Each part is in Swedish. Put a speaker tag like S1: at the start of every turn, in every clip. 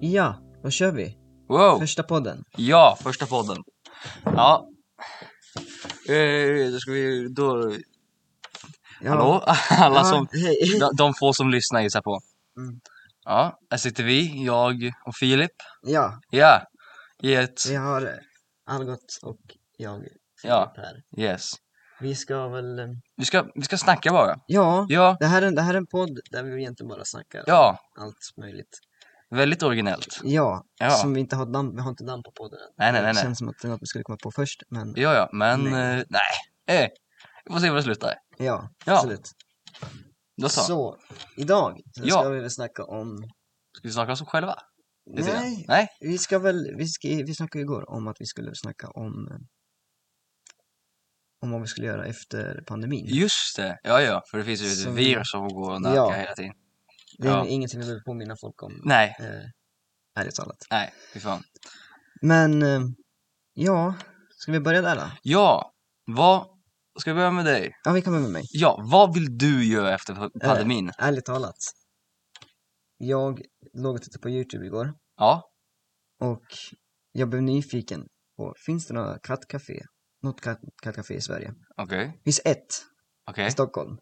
S1: Ja, då kör vi!
S2: Wow!
S1: Första podden.
S2: Ja, första podden. Ja. Eh, Då ska vi, då,
S1: Ja.
S2: hallå? Alla
S1: Ja,
S2: som,
S1: Hej!
S2: de- de få som lyssnar gissar på.
S1: Mm.
S2: Ja, här sitter vi, jag och Filip.
S1: Ja,
S2: Ja, i ett,
S1: vi har eh, Algot och jag
S2: Ja.
S1: här.
S2: yes.
S1: Vi ska väl... eh,
S2: Vi ska, vi ska snacka bara.
S1: Ja,
S2: Ja,
S1: det här, är, en- det här är en podd där vi egentligen bara snackar
S2: ja,
S1: allt möjligt.
S2: väldigt originellt.
S1: Ja,
S2: Ja,
S1: som vi inte har namn, vi har inte namn på podden än.
S2: nej, nej, nej,
S1: Det
S2: nej.
S1: känns som att det är något vi skulle komma på först, men
S2: Ja, ja, men
S1: Nej.
S2: nej. nej. Eh, vi får se var det slutar.
S1: ja,
S2: Ja,
S1: absolut.
S2: Då så.
S1: Så, idag så
S2: Ja.
S1: ska vi väl snacka om...
S2: Ska vi snacka oss själva? Lite grann.
S1: Nej,
S2: Nej,
S1: vi ska väl, vi, ska, vi snackade ju igår om att vi skulle snacka om eh, om vad vi skulle göra efter pandemin.
S2: just det. Ja, ja, för det finns ju
S1: Som-
S2: ett virus som går och
S1: Ja.
S2: nökar hela tiden.
S1: Det är
S2: ja.
S1: ingenting vi behöver påminna folk om,
S2: Nej,
S1: eh, ärligt talat.
S2: nej, fy fan.
S1: Men, eh, ja, ska vi börja där då?
S2: Ja, vad... Ska vi börja med dig?
S1: Ja, vi kan börja med mig.
S2: Ja, vad vill du göra efter pa-
S1: Eh.
S2: pandemin?
S1: Ärligt talat, jag låg och tittade på YouTube igår
S2: Ja,
S1: och jag blev nyfiken på, finns det några kattcafé? Något katt- kattcafé i Sverige?
S2: okej,
S1: Det finns ett
S2: okej,
S1: i Stockholm.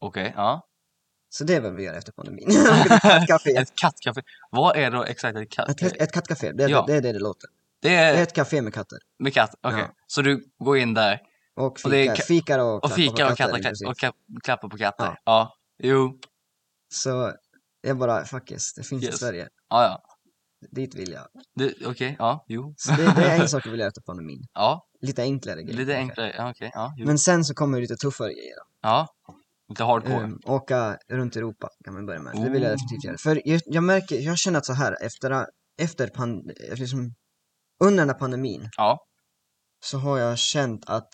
S2: okej, ja.
S1: Så det är vad vi gör efter pandemin. ett kattcafé.
S2: Ett kattcafé. Vad är då exakt ett
S1: Ett,
S2: katt?
S1: kat- ett kattcafé, det är,
S2: Ja. Eh.
S1: det, det är det det låter.
S2: Det
S1: Det är
S2: är
S1: ett café med katter.
S2: med katt, okej.
S1: Ja.
S2: Så du går in där
S1: Och
S2: Och det är
S1: fikar
S2: ka-
S1: fikar och, klappar
S2: och
S1: på
S2: fikar och, katter,
S1: inklusive.
S2: och ka- klappar på katter?
S1: Ja.
S2: Ja. Jo,
S1: Så jag bara, fuck yes, det finns i
S2: Yes.
S1: Sverige.
S2: ja, ja.
S1: Dit vill jag.
S2: Du, Okej, ja, jo.
S1: Så det, det är en sak jag vill göra efter pandemin.
S2: Ja,
S1: Lite enklare grejer.
S2: lite
S1: kanske.
S2: enklare. Ja, okej, ja, jo.
S1: Men sen så kommer det lite tuffare grejer. då.
S2: Ja, lite hardcore.
S1: Ehm, åka runt i Europa kan man börja med. Det vill jag
S2: Oh.
S1: definitivt göra. För jag, jag märker, jag känner att så här efter, efter pan, liksom, under den här pandemin
S2: Ja,
S1: så har jag känt att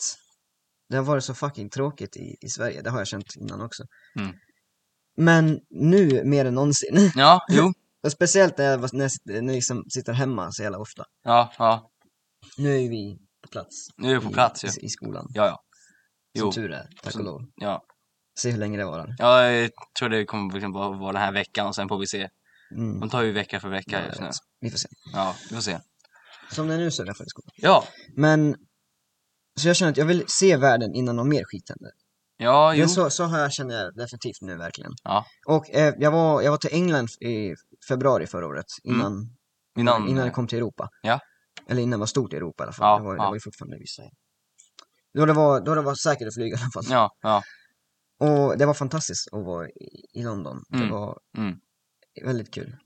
S1: det har varit så fucking tråkigt i, i Sverige. Det har jag känt innan också.
S2: Mm.
S1: Men nu mer än någonsin.
S2: ja, jo.
S1: Och speciellt när jag, var- när jag, sit- när jag liksom sitter hemma så jävla ofta.
S2: Ja, ja.
S1: Nu är ju vi på plats.
S2: Nu är vi på plats ju.
S1: i, i, i skolan.
S2: Ja, ja. Jo,
S1: Som tur är, tack
S2: Så-
S1: och lov.
S2: ja.
S1: Se hur länge det varar.
S2: Ja, jag tror det kommer liksom bara vara den här veckan och sen får vi se.
S1: Mm.
S2: De tar ju vecka för
S1: Ja,
S2: vecka
S1: jag
S2: just nu.
S1: vet. Vi får se.
S2: Ja, vi får se.
S1: Som det är nu så är det i alla fall i skolan.
S2: Ja,
S1: Men, så jag känner att jag vill se världen innan något mer skit händer.
S2: ja,
S1: Det är
S2: jo.
S1: så, så här känner jag definitivt nu verkligen.
S2: Ja.
S1: Och eh, jag, var, jag var till England i februari förra året,
S2: Mm.
S1: innan,
S2: Innan,
S1: innan det kom till Europa.
S2: Ja.
S1: Eller innan det var stort i Europa i alla fall.
S2: Ja,
S1: det, var, det
S2: ja.
S1: var ju fortfarande vissa. Då det var, då det var säkert att flyga i alla fall.
S2: Ja, ja,
S1: Och det var fantastiskt att vara i, i London. Det
S2: Mm,
S1: var
S2: mm.
S1: väldigt kul.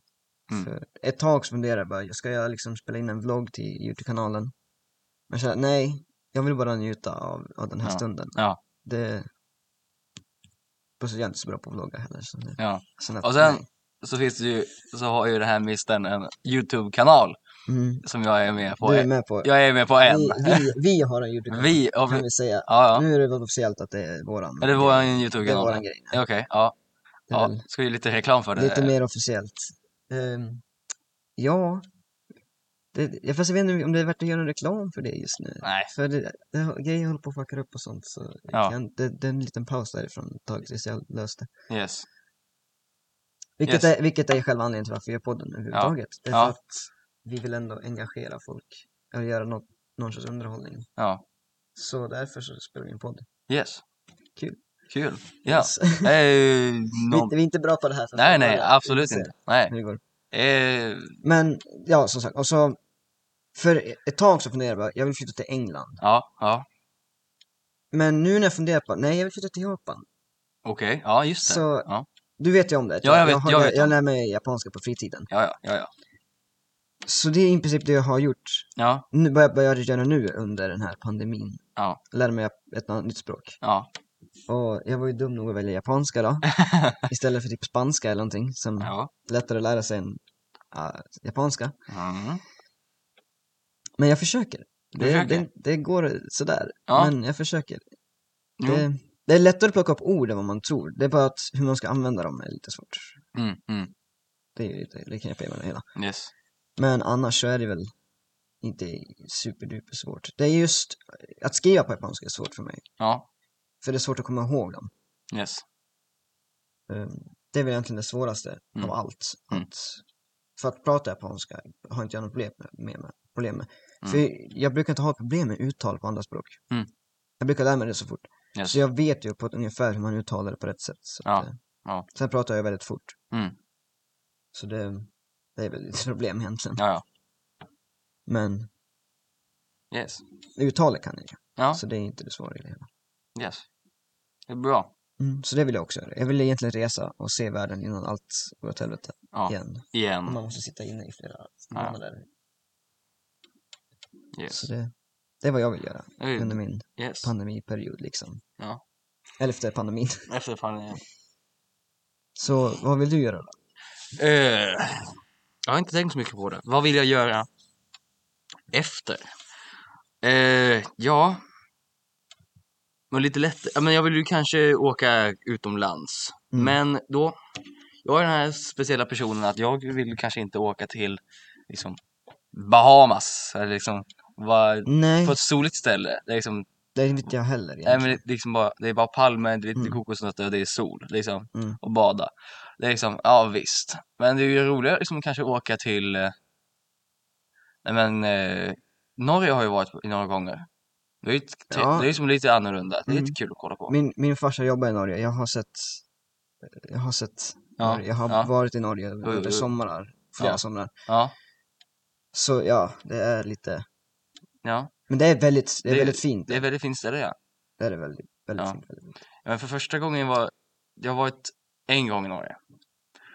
S2: Mm.
S1: För ett tag så funderade jag bara, ska jag liksom spela in en vlogg till Youtube-kanalen? Men jag kände, nej, jag vill bara njuta av, av den här
S2: Ja,
S1: stunden.
S2: ja.
S1: Det... Plus att jag är inte så bra på att vlogga heller. Så det...
S2: ja.
S1: sen att,
S2: Och sen-
S1: nej.
S2: Så finns det ju, så har ju den här mistern en YouTube-kanal
S1: Mm,
S2: som jag är med på.
S1: du är med på.
S2: Jag är med på en.
S1: vi, vi, vi har en Youtube-kanal,
S2: Vi, ja,
S1: kan
S2: vi
S1: vi säga.
S2: ja, ja.
S1: Nu är det officiellt att det är våran.
S2: Är det
S1: grej.
S2: vår
S1: det är
S2: YouTube-kanal?
S1: våran
S2: Ja,
S1: grej.
S2: Okej, ja.
S1: Det är
S2: ja.
S1: väl
S2: Ska ju lite reklam för det.
S1: Lite mer officiellt. Ehm, ja, det, jag- fast jag vet inte om det är värt att göra någon reklam för det just nu.
S2: Nej.
S1: För det, det, har- grejer håller på att fucka upp och sånt. Så
S2: Ja.
S1: kan, det, det är en liten paus därifrån ett tag tills jag löste.
S2: Yes.
S1: Vilket,
S2: Yes.
S1: är, vilket är själva anledningen till varför jag gör podden överhuvudtaget. Det är
S2: Ja.
S1: för att vi vill ändå engagera folk och göra något, någon sorts underhållning.
S2: Ja.
S1: Så därför så spelar vi en podd.
S2: Yes.
S1: Kul.
S2: Kul. Ja.
S1: Yes.
S2: Eh,
S1: vi, är
S2: någon...
S1: inte- vi är inte bra på det här. från
S2: Nej, nej,
S1: början.
S2: absolut
S1: Vi får se
S2: inte. Nej.
S1: Hur det går.
S2: Eh,
S1: Men ja, som sagt, och så för ett tag så funderade jag bara, jag vill flytta till England.
S2: ja, ja.
S1: Men nu när jag funderar på, nej jag vill flytta till Japan.
S2: Okej, ja just det.
S1: Så,
S2: Ja.
S1: du vet ju om det. att
S2: Ja, jag vet-
S1: har-
S2: jag
S1: jag,
S2: vet
S1: jag
S2: om
S1: lär mig japanska på fritiden.
S2: Ja, ja, ja, ja.
S1: Så det är i princip det jag har gjort,
S2: Ja,
S1: nu börjar börjar jag göra nu under den här pandemin.
S2: Ja.
S1: Lärde mig ett annat nytt språk.
S2: ja.
S1: Och jag var ju dum nog att välja japanska då, istället för typ spanska eller någonting som
S2: ja.
S1: lättare att lära sig än ah, japanska.
S2: Mm.
S1: Men jag försöker.
S2: Du
S1: det,
S2: försöker?
S1: Det, det går sådär,
S2: Ja.
S1: men jag försöker.
S2: Jo.
S1: Det, det är lättare att plocka upp ord än vad man tror. Det är bara att hur man ska använda dem är lite svårt.
S2: Mm, mm.
S1: Det är ju lite det knepiga med det hela.
S2: Yes.
S1: Men annars så är det väl inte superduper svårt. Det är just att skriva på japanska är svårt för mig.
S2: Ja.
S1: För det är svårt att komma ihåg dem.
S2: Yes.
S1: Ehm, Det är väl egentligen det svåraste
S2: Mm.
S1: av allt. Att
S2: Mm.
S1: För att prata japanska har inte jag något problem med. med, problem med.
S2: Mm.
S1: För jag brukar inte ha problem med uttal på andra språk.
S2: Mm.
S1: Jag brukar lära mig det så fort.
S2: Yes.
S1: Så jag vet ju på ett ungefär hur man uttalar det på rätt sätt. Så
S2: Ja,
S1: att, eh,
S2: ja.
S1: Sen pratar jag väldigt fort.
S2: Mm.
S1: Så det, det är väl ett problem egentligen.
S2: Ja,
S1: Men
S2: ja. Yes.
S1: uttalet kan jag ju.
S2: Ja,
S1: Så det är inte det svåra i det hela.
S2: yes. Det är bra.
S1: Mm, så det vill jag också göra. Jag vill egentligen resa och se världen innan allt går åt helvete
S2: Ja. Mm.
S1: igen.
S2: Igen.
S1: Man måste sitta inne i flera månader.
S2: Yes.
S1: Så det, det är vad jag vill göra
S2: Eh,
S1: under min
S2: Yes.
S1: pandemiperiod liksom.
S2: Ja.
S1: Eller efter pandemin.
S2: Efter fan
S1: Så vad vill du göra då?
S2: Eh, jag har inte tänkt så mycket på det. Vad vill jag göra efter? Eh, ja, men lite lätt. ja, Men jag vill ju kanske åka utomlands.
S1: Mm.
S2: Men då, jag är den här speciella personen att jag vill kanske inte åka till liksom Bahamas eller liksom vara
S1: Nej,
S2: på ett soligt ställe. Det är, liksom,
S1: det vet inte jag heller
S2: nej,
S1: egentligen.
S2: men det, är liksom bara, det är bara palmer, det är lite
S1: Mm.
S2: kokosnötter och det är sol. Liksom
S1: Mm.
S2: och bada. Det är liksom, ja visst. Men det är ju roligare liksom kanske åka till, eh, nej men eh, Norge har ju varit i några gånger. Det är ju ett-
S1: Ja.
S2: det är ju som lite annorlunda, det är
S1: Mm.
S2: lite kul att kolla på.
S1: Min, min farsa jobbar i Norge, jag har sett, jag har sett
S2: Ja,
S1: Norge. Jag har
S2: ja.
S1: varit i Norge
S2: jo,
S1: under
S2: jo.
S1: somrar, flera
S2: Ja.
S1: somrar.
S2: Ja,
S1: Så ja, det är lite,
S2: ja.
S1: men det är väldigt, det är
S2: Det-
S1: väldigt fint.
S2: Det är väldigt fint ställe ja.
S1: Det är det väldigt, väldigt
S2: Ja.
S1: fint. Väldigt fint.
S2: ja men för första gången var, jag har varit en gång i Norge.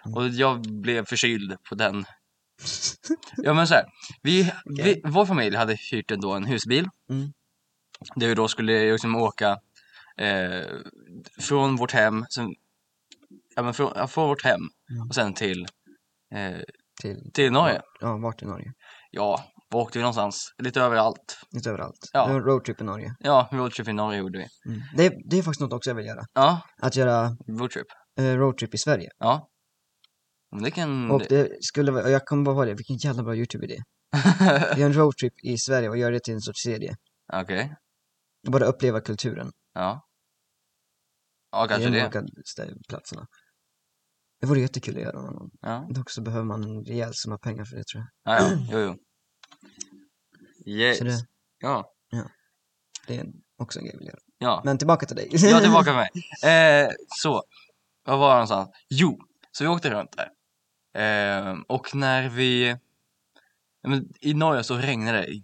S1: Mm.
S2: Och jag blev förkyld på den. Ja men så här, vi, vi, vår familj hade hyrt ändå en husbil.
S1: Mm.
S2: Där vi då skulle liksom åka eh, från vårt hem, sen, ja, men från, ja, från vårt hem
S1: Mm.
S2: och sen till, eh,
S1: Till,
S2: till Norge.
S1: ja, vart i Norge?
S2: Ja, var åkte vi någonstans? Lite överallt.
S1: Inte överallt.
S2: Ja.
S1: Det var en roadtrip i Norge.
S2: Ja, roadtrip i Norge gjorde vi.
S1: Mm. Det, är- det är faktiskt något också jag vill göra.
S2: Ja,
S1: Att göra
S2: roadtrip.
S1: eh, roadtrip i Sverige.
S2: Ja. Men Mm, det kan...
S1: Och det skulle vara, och jag kommer bara ihåg det, vilken jävla bra YouTube-idé. Gör en roadtrip i Sverige och gör det till en sorts serie.
S2: Okej,
S1: Och bara uppleva kulturen
S2: ja. Ja,
S1: i
S2: kanske
S1: de
S2: det.
S1: olika stä- platserna. Det vore jättekul att göra någon gång.
S2: Ja,
S1: Dock så behöver man en rejäl summa pengar för det tror jag.
S2: ja, ja. jo, jo. Yes.
S1: Så det,
S2: Ja,
S1: det är också en grej jag vill göra.
S2: ja.
S1: Men tillbaka till dig.
S2: Jag är tillbaka med mig. Eh, så, vad var jag någonstans? Jo, så vi åkte runt där. Eh, och när vi... ja, Men, I Norge så regnade det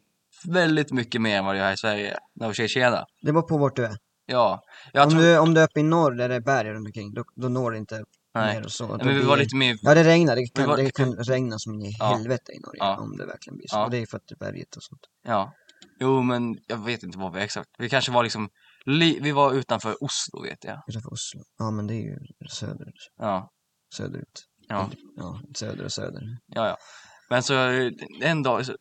S2: väldigt mycket mer än vad det gör här i Sverige. När vi kör tjena.
S1: det var på vart du är.
S2: Ja, jag
S1: om,
S2: tror...
S1: du, om du är uppe i norr där det är berg runt omkring, då, då når det inte
S2: Nej,
S1: ner och så.
S2: Nej,
S1: Då
S2: men vi
S1: blir
S2: var
S1: det-
S2: lite mer...
S1: Ja, det regnar. Det
S2: Vi
S1: kan,
S2: var-
S1: det kan regna som i
S2: Ja.
S1: helvete i Norge
S2: Ja.
S1: om det verkligen blir så.
S2: Ja.
S1: Och det är för att det är berget och sånt.
S2: Ja. Jo, men jag vet inte vad vi exakt... Vi kanske var liksom... Li... Vi var utanför Oslo, vet jag.
S1: Utanför Oslo. Ja, men det är ju söder,
S2: Ja,
S1: söderut.
S2: ja,
S1: Ja, söder och söder.
S2: ja. ja. Men så eh, en dag, så-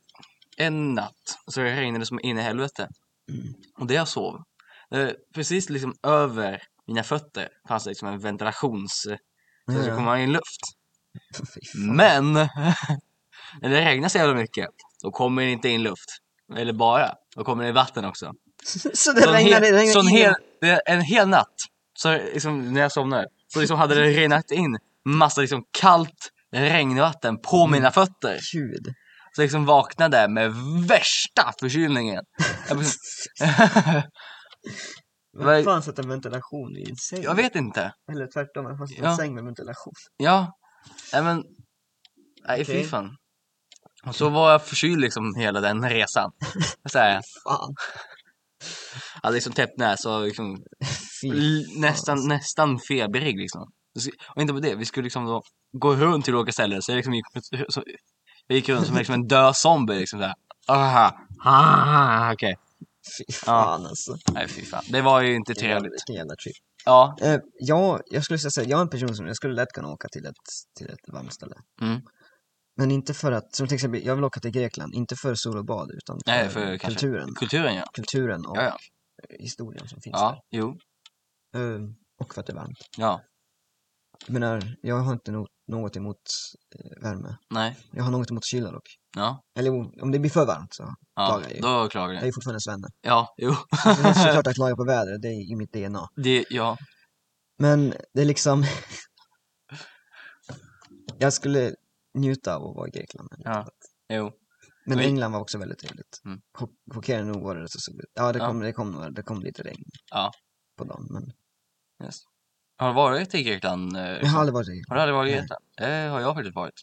S2: en natt, så regnade det som in i helvete.
S1: Mm.
S2: Och det jag sov, eh, precis liksom över mina fötter fanns det liksom en ventilations... Så
S1: Ja,
S2: det
S1: ja.
S2: kom in luft.
S1: Fy fan.
S2: Men! när det regnar så jävla mycket, då kommer det inte in luft. Eller bara, då kommer det vatten också.
S1: så det
S2: Så en
S1: regnar, det
S2: hel-
S1: regnar
S2: så en
S1: in.
S2: hel, det- en hel natt, så liksom, när jag somnade, så liksom hade det regnat in massa liksom kallt regnvatten
S1: Mm.
S2: på mina fötter.
S1: Gud.
S2: Så jag liksom vaknade med värsta förkylningen. Jag bara-
S1: Vad
S2: Vad-
S1: fan sätter ventilation i en säng?
S2: jag vet inte.
S1: Eller tvärtom, man fast en
S2: Ja.
S1: säng med ventilation.
S2: Ja, nej men... Nej
S1: Okej.
S2: fy fan. Och så var jag förkyld liksom hela den resan. Så här,
S1: Fan.
S2: jag hade liksom täppt näsa och liksom,
S1: Fy
S2: l-
S1: fan. alltså.
S2: nästan, nästan feberig liksom. Och så- Och inte på det, vi skulle liksom då gå runt till olika ställen så jag liksom gick, så, jag gick runt som liksom en död zombie liksom såhär. Ah, ah, okej.
S1: Fy fan alltså.
S2: Nej fy fan, det var ju inte trevligt.
S1: Vilken jävla trip.
S2: Ja,
S1: Eh, ja, jag skulle säga jag är en person som jag skulle lätt kunna åka till ett, till ett varmt ställe.
S2: Mm.
S1: Men inte för att, som till exempel, jag vill åka till Grekland, inte för sol och bad utan för,
S2: Nej, för kanske-
S1: kulturen.
S2: kulturen ja.
S1: Kulturen och
S2: Ja, ja.
S1: historien som finns
S2: Ja, jo,
S1: där. Eh, och för att det är varmt.
S2: ja,
S1: Jag menar, jag har inte no- något emot eh, värme.
S2: nej,
S1: Jag har något emot kyla dock.
S2: ja.
S1: Eller jo, om det blir för varmt så.
S2: Ja,
S1: Klagar ju.
S2: då
S1: Jag är
S2: klagar jag.
S1: ju fortfarande svenne.
S2: Ja, jo.
S1: Så Alltså, det är såklart att klaga på vädret, det är i mitt DNA.
S2: Det, ja.
S1: Men det är liksom... jag skulle njuta av att vara i Grekland. helt
S2: Ja.
S1: enkelt.
S2: Jo.
S1: Men
S2: Vi-
S1: England var också väldigt trevligt.
S2: Mm.
S1: Chock- Chockerande nog var det rätt så soligt. Ja, det
S2: Ja.
S1: kom, Det, kom, några- det kom lite regn
S2: Ja.
S1: på dagen. Men
S2: Yes. Har du varit i Grekland? eh,
S1: jag har aldrig varit i
S2: Har du aldrig varit i
S1: Nej.
S2: Grekland? Det har jag faktiskt varit.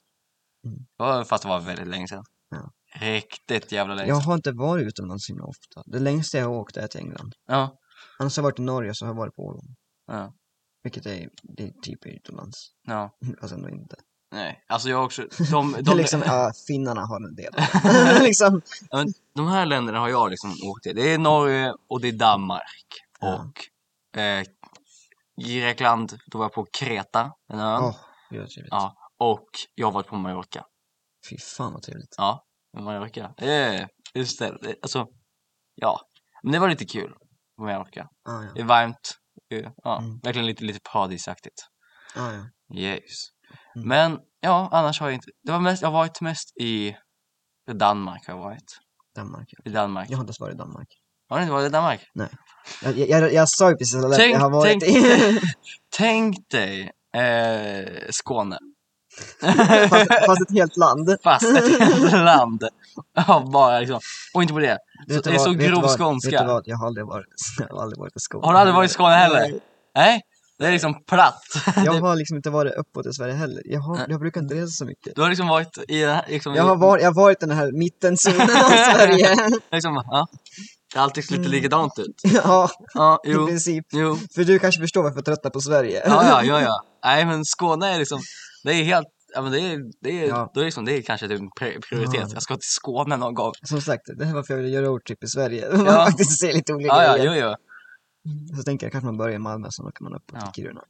S1: Mm.
S2: Det var- Fast det var väldigt länge sedan.
S1: Ja.
S2: Riktigt jävla länge
S1: Jag
S2: sedan.
S1: har inte varit utomlands så himla ofta. Det längsta jag har åkt är till England.
S2: Ja.
S1: Annars har jag varit i Norge så har jag varit på Åland.
S2: Ja.
S1: Vilket är, det är typ utomlands.
S2: ja.
S1: Fast ändå inte.
S2: Nej. Alltså jag har också. De,
S1: Det är
S2: de,
S1: liksom, ja, finnarna har en del. liksom.
S2: de här länderna har jag liksom åkt till. Det är Norge och det är Danmark.
S1: Ja.
S2: Och eh, Grekland, då var jag på Kreta, en ö.
S1: Åh, gud vad trevligt.
S2: Ja. Och jag har varit på Mallorca.
S1: Fy fan vad trevligt.
S2: Mallorca. Eh, just det. Alltså, ja. Men det var lite kul. På Mallorca.
S1: Ah, ja,
S2: Det är varmt. Eh, Ja,
S1: Mm.
S2: verkligen lite, lite paradisaktigt.
S1: ah, ja.
S2: Yes.
S1: Mm.
S2: Men ja, annars har jag inte. Det var mest, jag har varit mest i Danmark har jag varit.
S1: Danmark. ja.
S2: I Danmark.
S1: Jag har inte ens varit i Danmark.
S2: Har du inte varit i Danmark?
S1: Jag, jag, jag, jag sa ju precis att
S2: Tänk-
S1: jag har varit
S2: tänk-
S1: i...
S2: Tänk dig eh, Skåne.
S1: fast, fast ett helt land.
S2: Fast ett helt land. Ja, bara liksom. Och inte på det.
S1: Vet du
S2: det är
S1: vad-
S2: så
S1: vet du
S2: grov
S1: vad-
S2: skånska.
S1: Vet du vad, jag har aldrig varit, jag har aldrig varit i Skåne.
S2: Har du aldrig varit i Skåne heller?
S1: Nej.
S2: Nej, det är liksom platt.
S1: Jag har liksom inte varit uppåt i Sverige heller. Jag, har,
S2: Nej.
S1: jag brukar inte resa så mycket.
S2: Du har liksom varit i den här, liksom,
S1: Jag har, var, jag har varit i den här mittenzonen av Sverige.
S2: liksom, ja. Det har alltid lite
S1: Mm.
S2: likadant ut.
S1: ja,
S2: Ja,
S1: i
S2: jo,
S1: princip.
S2: jo.
S1: För du kanske förstår varför jag tröttnar på Sverige.
S2: Ja, ja, ja, ja. Nej, men Skåne är liksom, det är helt, ja men det är, det är,
S1: Ja.
S2: då är liksom, det är kanske typ en pri- prioritet.
S1: Ja.
S2: Jag ska till Skåne någon gång.
S1: Som sagt, det här är varför jag ville göra roadtrip i Sverige. Man
S2: Ja.
S1: faktiskt ser lite olika
S2: Ja, ja,
S1: grejer.
S2: jo, jo.
S1: Så tänker jag kanske man börjar i Malmö, sen åker man upp
S2: Ja.
S1: till Kiruna.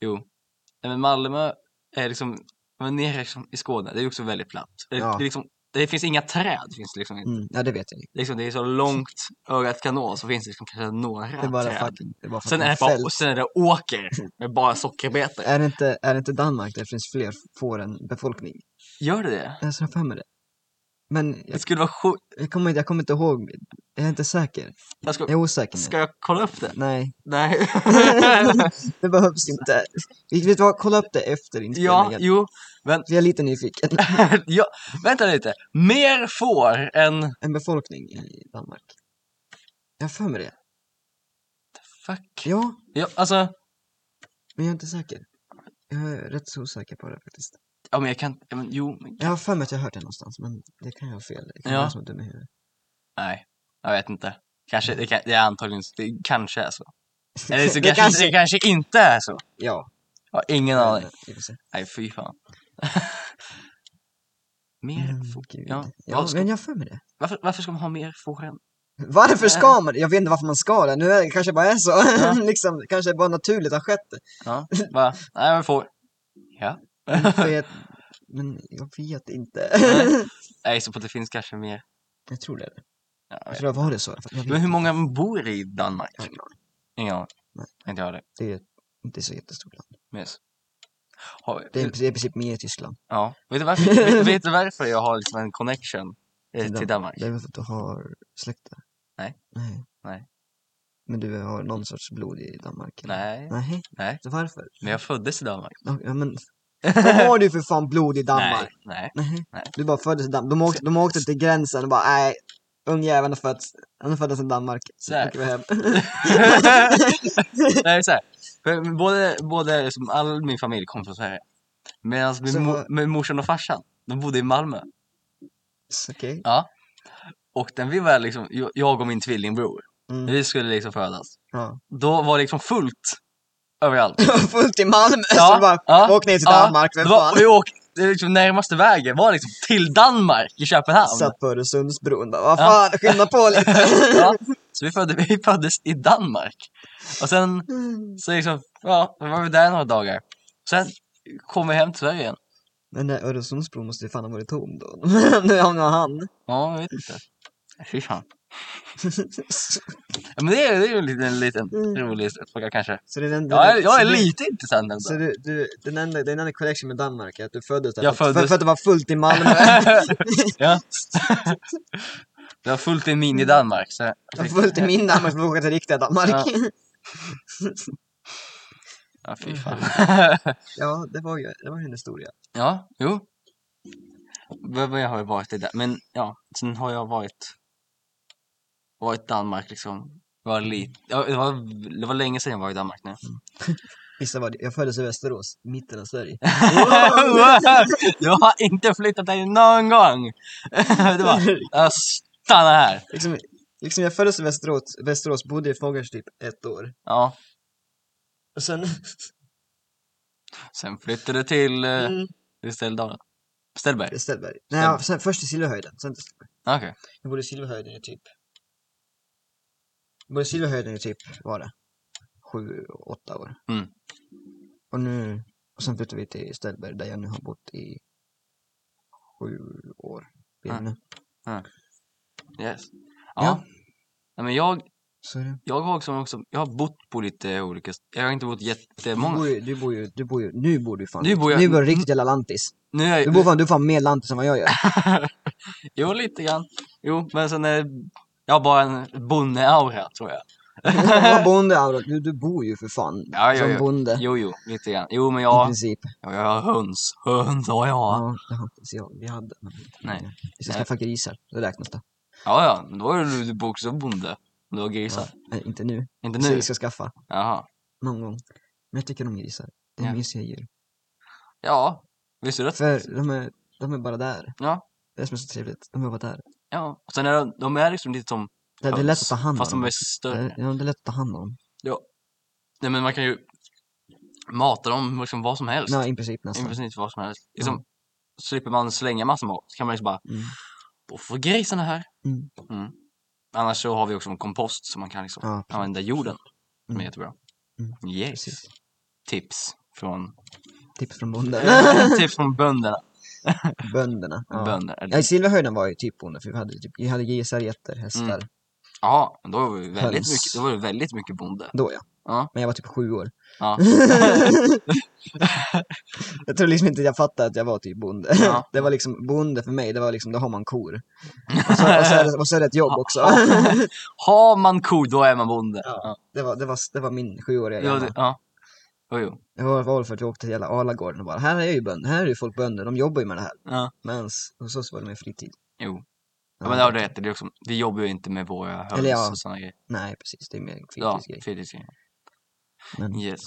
S2: jo. Nej, men Malmö är liksom, men nere liksom i Skåne, det är ju också väldigt platt. Det,
S1: Ja.
S2: det, är liksom, det finns inga träd, finns det liksom inte.
S1: Mm, ja, det vet jag ju.
S2: Liksom, det är så långt ögat kan nå så finns det liksom kanske några
S1: Det är bara
S2: träd.
S1: fucking, det är bara fucking
S2: Sen är, det
S1: fält.
S2: bara, sen är det åker med bara sockerbetor.
S1: Är det, inte, är det inte Danmark där det finns fler får än befolkning?
S2: Gör det det?
S1: Jag har för mig det. Men
S2: Det
S1: jag,
S2: skulle vara sjukt.
S1: jag, kommer, inte- jag kommer inte ihåg, jag är inte säker.
S2: Jag ska,
S1: Jag är osäker nu.
S2: ska jag kolla upp det?
S1: Nej,
S2: Nej.
S1: det behövs inte. Vi- Vet du vad, kolla upp det efter
S2: ja,
S1: inspelningen.
S2: jo.
S1: Vi är lite nyfiken.
S2: ja, vänta lite. Mer får än...
S1: En befolkning i Danmark. Jag har för mig det.
S2: Fuck.
S1: Ja,
S2: Ja, alltså.
S1: men jag är inte säker. Jag är rätt så osäker på det faktiskt.
S2: Ja, men jag kan ja, men, Jo, men,
S1: Jag har för mig att jag har hört det någonstans, men det kan jag ha fel. Det kan
S2: Ja.
S1: vara som är dum i huvudet.
S2: nej. Jag vet inte. Kanske, det, kan, det är antagligen, det kanske är så. Eller så
S1: Det
S2: kanske,
S1: kanske-
S2: det kanske inte är så.
S1: Ja,
S2: Jag har ingen
S1: men,
S2: aning.
S1: eh, vi får se.
S2: Nej, fy fan. mer
S1: Men
S2: får...
S1: Mm, gud.
S2: Ja,
S1: Ja,
S2: vad ska-
S1: men jag har för mig det.
S2: Varför, varför ska man ha mer får än...
S1: Varför ska man Jag vet inte varför man ska det. Nu är det kanske bara är så.
S2: Ja.
S1: liksom, kanske bara naturligt har skett.
S2: Ja, va? Nej, men får... Ja.
S1: För jag, men jag vet inte.
S2: Nej. Nej, så på det finns kanske mer.
S1: jag tror det. Är det.
S2: Ja, jag
S1: Jag
S2: vet.
S1: tror det var det så. Jag vet
S2: men hur många bor i Danmark?
S1: inte. Ja,
S2: Ingen aning.
S1: Nej.
S2: Inte jag det.
S1: Det är inte så jättestort land.
S2: Yes. Har,
S1: Det är, det är i princip mer i Tyskland.
S2: ja. vet, du varför, vet, vet du varför jag har liksom en connection eh,
S1: Till
S2: till Danmark?
S1: Det är väl för att du har släkt där?
S2: Nej.
S1: Nej.
S2: Nej.
S1: Men du har någon sorts blod i Danmark? eller?
S2: Nej,
S1: Nej.
S2: Nej.
S1: Så varför?
S2: men jag föddes i Danmark.
S1: Ja, men, vad har du för fan blod i
S2: Nej,
S1: Danmark?
S2: nej.
S1: Nej.
S2: Nej.
S1: Du bara föddes i Danmark. De åkte, de åkte till gränsen och bara nej, ungjäveln har fötts. Han har fötts i Danmark.
S2: Så här.
S1: Så åker vi hem.
S2: nej, så här. För Både, både liksom, all min familj kom från Sverige. Medan min,
S1: Så
S2: mo-
S1: vad-
S2: min morsan och farsan, de bodde i Malmö.
S1: Så, Okej.
S2: Och när vi var liksom, jag- jag och min tvillingbror, när
S1: Mm.
S2: vi skulle liksom födas.
S1: Ja.
S2: Då var det liksom fullt överallt.
S1: Fullt i Malmö
S2: Ja,
S1: så bara
S2: ja,
S1: åk ner till
S2: ja.
S1: Danmark,
S2: Det
S1: vem
S2: var,
S1: fan.
S2: vi åkte, det liksom närmaste vägen var liksom till Danmark i Köpenhamn.
S1: Satt på Öresundsbron bara, vad
S2: Ja.
S1: fan, skynda på lite.
S2: ja, så vi, födde, vi föddes i Danmark. Och sen så liksom, ja, då var vi där några dagar. Sen kom vi hem till Sverige igen.
S1: Men den där Öresundsbron måste ju fan ha varit tom då. nu hamnar han.
S2: Ja, jag vet inte. Fy fan. Ja, Men det är, det är ju en liten, liten
S1: Mm.
S2: rolig fråga kanske.
S1: så det är den,
S2: Ja, jag, jag är
S1: så det-
S2: lite intressant ändå.
S1: Så du, du, den enda, den enda connection med Danmark är att du föddes där.
S2: Jag
S1: för, att-
S2: föddes-
S1: För, för att det var fullt i Malmö.
S2: ja. Det var fullt i min i Danmark. Så...
S1: Det var fullt i min Danmark, för vi åka till riktiga Danmark.
S2: Ja.
S1: Ja.
S2: Ja, fy fan.
S1: ja, det var ju det var ju en historia.
S2: ja, jo. Men jag har ju varit i det. Men ja, sen har jag varit varit i Danmark liksom. Var lite, ja, det, var, det var länge sedan jag var i Danmark nu.
S1: Gissa vad, jag föddes i Västerås, mitten av Sverige.
S2: jag har inte flyttat dig någon gång! det var, jag stannar här.
S1: liksom, liksom jag föddes i Västerås, Västerås bodde i Fångars typ ett år.
S2: Ja,
S1: Och sen,
S2: sen flyttade du till eh,
S1: mm,
S2: till Ställdalen. Ställberg?
S1: Ställberg. Nej, ja, sen, först till Silverhöjden. Sen,
S2: Okej.
S1: jag bodde i Silverhöjden i typ... Jag bodde i Silverhöjden i typ, vad var det? Sju, åtta år.
S2: Mm.
S1: Och nu, och sen flyttade vi till Ställberg där jag nu har bott i sju år.
S2: Ja.
S1: Mm.
S2: Yes.
S1: Ja.
S2: Ja. Nej, men jag,
S1: Så är det.
S2: jag har också, också, jag har bott på lite olika, jag har inte bott
S1: Du bor
S2: jättemånga.
S1: ju, du bor ju, du bor ju, nu bor du fan
S2: Nu bor jag-
S1: nu bor du riktigt jävla lantis.
S2: Nu är
S1: Du
S2: jag,
S1: bor fan, du är fan mer lantis än vad jag gör.
S2: Jo, lite grann. Jo, men sen är jag har bara en bondeaura tror jag.
S1: Vad bonde Auro, du, du bor ju för fan
S2: Ja, ja,
S1: som
S2: ja.
S1: bonde.
S2: Jo, jo, lite grann. Jo, men
S1: I
S2: jag,
S1: princip.
S2: jag har höns. Höns har jag.
S1: Mm. Ja, det har inte så jag, vi hade. Men...
S2: Nej.
S1: Vi ska skaffa grisar, det räknas det.
S2: Ja, ja, men då är du du bor också bonde. Du har grisar.
S1: Nej, inte nu.
S2: Inte
S1: Så
S2: nu?
S1: vi ska skaffa,
S2: Jaha.
S1: någon gång. Men jag tycker om grisar. Det är
S2: Ja.
S1: mysiga djur.
S2: Ja, visst är det?
S1: För de är, de är bara där.
S2: Ja.
S1: Det är det som är så trevligt, de är bara där.
S2: Ja. Och sen är de, de är liksom lite som
S1: Det, det är lätt att ta hand om
S2: Fast de
S1: dem.
S2: är
S1: Det
S2: större.
S1: är, ja, det är lätt att ta hand om dem.
S2: Nej, men man kan ju mata dem liksom vad som helst.
S1: Ja, i princip
S2: I
S1: nästan.
S2: princip vad som helst. Liksom, Slipper man slänga massor mat så kan man liksom bara
S1: Mm.
S2: Då får grisarna här.
S1: Mm.
S2: Mm. Annars så har vi också en kompost som man kan liksom
S1: Ja,
S2: använda jorden. Som
S1: Mm.
S2: är jättebra.
S1: Mm.
S2: Yes.
S1: precis.
S2: Tips från,
S1: Tips från bonden.
S2: tips från bönderna.
S1: Bönderna. Ja.
S2: Bönder.
S1: Ja,
S2: eller-
S1: i Silverhöjden var ju typ bonde, för vi hade, typ, vi hade grisar, getter, hästar.
S2: Mm. Ja, men då var, vi väldigt
S1: Höns.
S2: mycket, då var det väldigt mycket bonde.
S1: Då ja.
S2: Ja.
S1: Men jag var typ sju år.
S2: Ja.
S1: jag tror liksom inte jag fattade att jag var typ bonde.
S2: Ja.
S1: Det var liksom, bonde för mig, det var liksom, då har man kor. Och så, och så, är, det, och så är det ett jobb också.
S2: Har man ko, då är man bonde.
S1: Ja.
S2: Ja.
S1: det, var, det, var, det var min sjuåriga
S2: Ja.
S1: hjärna.
S2: det- ja. Jo, jo.
S1: Det var var för att vi åkte till hela Alagården och bara, här är ju bönder, här är ju folk bönder, de jobbar ju med det här.
S2: Ja.
S1: Men hos oss var det mer fritid.
S2: Jo. Ja, men det har du rätt i. Det är liksom, vi jobbar ju inte med våra höns
S1: Eller ja,
S2: och sådana grejer.
S1: Nej, precis, det är mer
S2: Ja,
S1: fritidsgrej.
S2: fritidsgrejer.
S1: Men-
S2: Yes.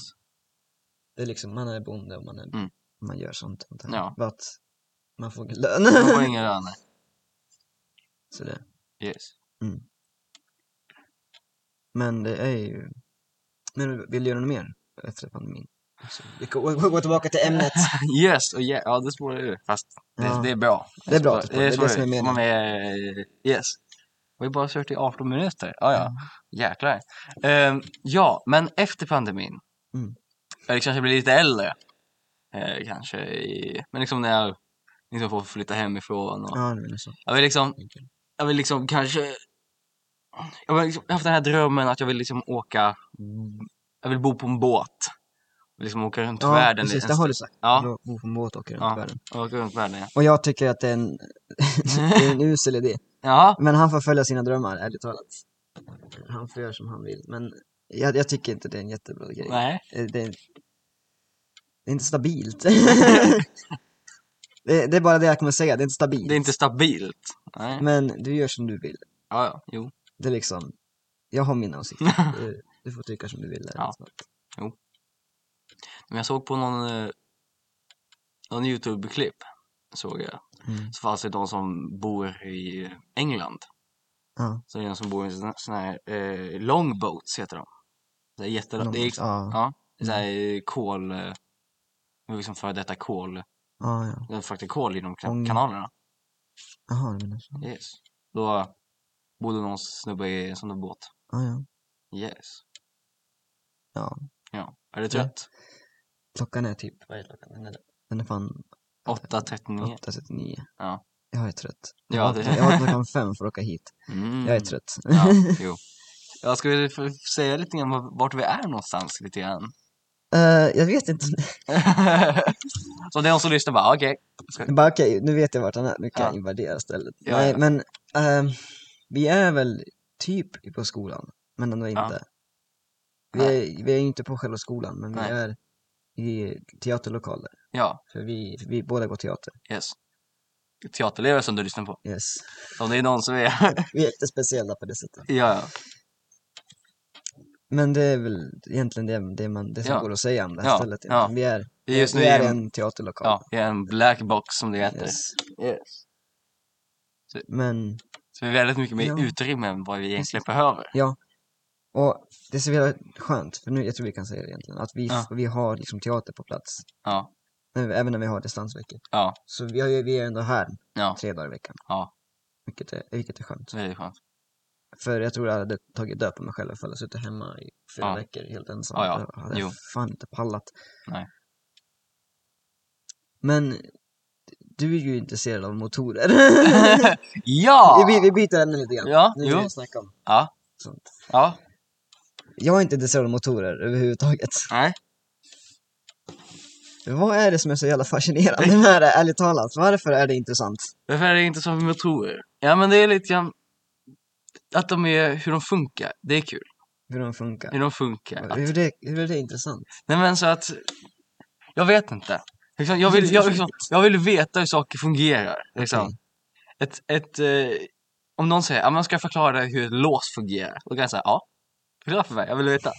S1: Det är liksom, man är bonde och man, är,
S2: Mm.
S1: man gör sånt. sånt här.
S2: Ja.
S1: För att man får ingen lön.
S2: De får inga löner.
S1: så det.
S2: Yes.
S1: Men det är ju... Men vill du göra något mer efter pandemin? Så vi går, går tillbaka till ämnet.
S2: Yes, och yeah. ja det spårar ur. Fast det,
S1: Ja.
S2: det är bra.
S1: Det är bra att
S2: spårar-
S1: det spårar- det är
S2: spårar
S1: det som är
S2: ur.
S1: meningen.
S2: Man är, yes. Vi har bara kört i 18 minuter. Ja,
S1: Mm.
S2: ja. Jäklar. Ehm, ja, men efter pandemin.
S1: Mm.
S2: Eller kanske blir lite äldre. Eh, kanske i, men liksom när jag liksom får flytta hemifrån. Och,
S1: Ja, det är väl så.
S2: Jag vill liksom, jag vill liksom kanske Jag har liksom haft den här drömmen att jag vill liksom åka Jag vill bo på en båt och liksom åka runt
S1: Ja,
S2: världen
S1: precis,
S2: en
S1: det har
S2: stund.
S1: du sagt.
S2: Ja,
S1: Bo- Bo på en båt och åker runt
S2: Ja.
S1: världen.
S2: åka runt världen ja.
S1: Och jag tycker att det är en, det är en usel idé.
S2: ja.
S1: Men han får följa sina drömmar, ärligt talat. Han får göra som han vill. Men jag, jag tycker inte det är en jättebra grej.
S2: Nej.
S1: Eh, Det, är- det är inte stabilt. det, det är bara det jag kommer säga, det är inte stabilt.
S2: Det är inte stabilt. Nej.
S1: Men du gör som du vill.
S2: Ja, ja. Jo.
S1: Det är liksom, jag har min åsikt. du, du får tycka som du vill.
S2: Ja.
S1: Ja.
S2: Men jag såg på någon, eh, någon YouTube-klipp. Såg jag.
S1: Mm.
S2: Så fanns det de som bor i England.
S1: Ja.
S2: Så det är de som bor i en sån- sån här eh, longboats heter de. Det är jätte... Det är liksom-
S1: ja.
S2: Ja, så här eh, kol... eh, det var Liksom före detta kol.
S1: Ja, ja.
S2: De fraktade kol genom kan-
S1: Ång.
S2: kanalerna.
S1: Jaha, du menar så.
S2: Yes. Då bodde någon snubbe i en sån där båt.
S1: Ja, ja.
S2: Yes.
S1: Ja.
S2: Ja. Är du trött?
S1: Klockan är typ, vad är klockan? Den är- Den är fan
S2: 8.39.
S1: 8.39.
S2: Ja.
S1: Jag är trött.
S2: Ja,
S1: jag
S2: det-
S1: vaknade- jag vaknade klockan fem för att åka hit.
S2: Mm.
S1: Jag är trött.
S2: Ja, jo. Ja, ska vi f- säga lite grann var- vart vi är någonstans lite grann?
S1: Eh, jag vet inte.
S2: så det är någon som lyssnar bara, okej.
S1: Jag bara okej, nu vet jag vart han är. Nu kan
S2: Ja.
S1: jag invadera stället.
S2: Ja,
S1: Nej,
S2: ja.
S1: men ehm, vi är väl typ på skolan, men ändå
S2: Ja.
S1: inte. Vi är, vi är inte på själva skolan, men vi
S2: Nej.
S1: är i teaterlokaler.
S2: Ja,
S1: För vi, för vi båda går teater.
S2: yes. teaterelever som du lyssnar på.
S1: Yes.
S2: Så Om det är någon som är...
S1: Vi är lite speciella på det sättet.
S2: ja, ja.
S1: Men det är väl egentligen det, det, man, det som
S2: Ja.
S1: går att säga om det här
S2: Ja,
S1: stället.
S2: ja.
S1: egentligen. Vi är,
S2: Det är Just nu
S1: vi är
S2: är en,
S1: en teaterlokal.
S2: ja, det är en black box som det heter.
S1: Yes.
S2: Yes.
S1: Men,
S2: Så vi har väldigt mycket mer
S1: Ja.
S2: utrymme än vad vi egentligen behöver.
S1: och det är så jävla skönt, för nu, jag tror vi kan säga det egentligen, att vi,
S2: Ja.
S1: vi har liksom teater på plats.
S2: Ja,
S1: När vi- Även när vi har distansveckor.
S2: Ja.
S1: Så vi, har, ju- vi är ändå här
S2: ja,
S1: tre dagar i veckan.
S2: Ja.
S1: Vilket är, vilket är skönt.
S2: så är det skönt.
S1: För jag tror jag hade tagit död på mig själv ifall jag suttit hemma i fyra
S2: Ja.
S1: veckor helt ensam.
S2: Ja, ja.
S1: Jag hade
S2: Jo.
S1: fan inte pallat.
S2: Nej.
S1: Men du är ju intresserad av motorer.
S2: ja!
S1: vi, by- vi byter ämne lite grann.
S2: Ja,
S1: nu
S2: jo.
S1: vill jag snacka om
S2: Ja.
S1: sånt.
S2: Ja,
S1: Jag är inte intresserad av motorer överhuvudtaget.
S2: nej.
S1: Vad är det som är så jävla fascinerande med det, ärligt talat? Varför är det intressant?
S2: Varför är det inte som med motorer? Ja, men det är lite grann att de är, hur de funkar. Det är kul.
S1: Hur de funkar?
S2: Hur de funkar. Att,
S1: Hur, det, hur är det intressant?
S2: nej, men så att, jag vet inte. Liksom, jag, vill, jag, liksom, jag vill veta hur saker fungerar. Liksom.
S1: Okej.
S2: Ett, ett, eh, om någon säger, ja, men ska jag förklara dig hur ett lås fungerar? Då kan jag säga, ja. Förklara för mig, jag vill veta.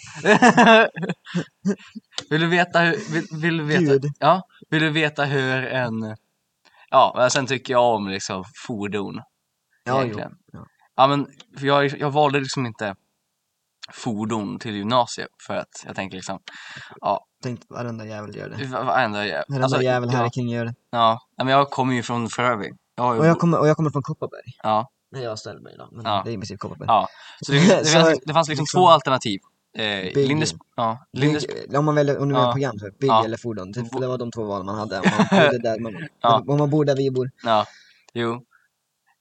S2: vill du veta hur, vill, vill du veta
S1: Gud.
S2: Ja, vill du veta hur en... Ja, men sen tycker jag om liksom fordon.
S1: Ja, jo.
S2: egentligen.
S1: ja.
S2: Ja, men för jag, jag valde liksom inte fordon till gymnasiet för att jag tänker liksom,
S1: Tänk varenda jävel gör det.
S2: va- varenda jä-
S1: Varenda
S2: alltså,
S1: jävel här
S2: ja,
S1: kring gör det.
S2: ja, ja, men jag kommer ju från Frövi. Jag har ju,
S1: Och jag kommer, och jag kommer från Kopparberg.
S2: ja,
S1: När jag ställde mig idag. Men
S2: Ja.
S1: det är i princip Kopparberg.
S2: ja. Så det, det,
S1: Så,
S2: fanns, det fanns liksom,
S1: liksom-
S2: två alternativ. Eh,
S1: Bygg-
S2: Lindes, ja, Lindes,
S1: Bygg, om man väljer, om du väljer
S2: Ja.
S1: program, så bygg
S2: Ja.
S1: eller fordon. Typ,
S2: Bo-
S1: det var de två val man hade. Om man, bodde där man,
S2: Ja.
S1: om man bor där vi bor.
S2: ja, jo.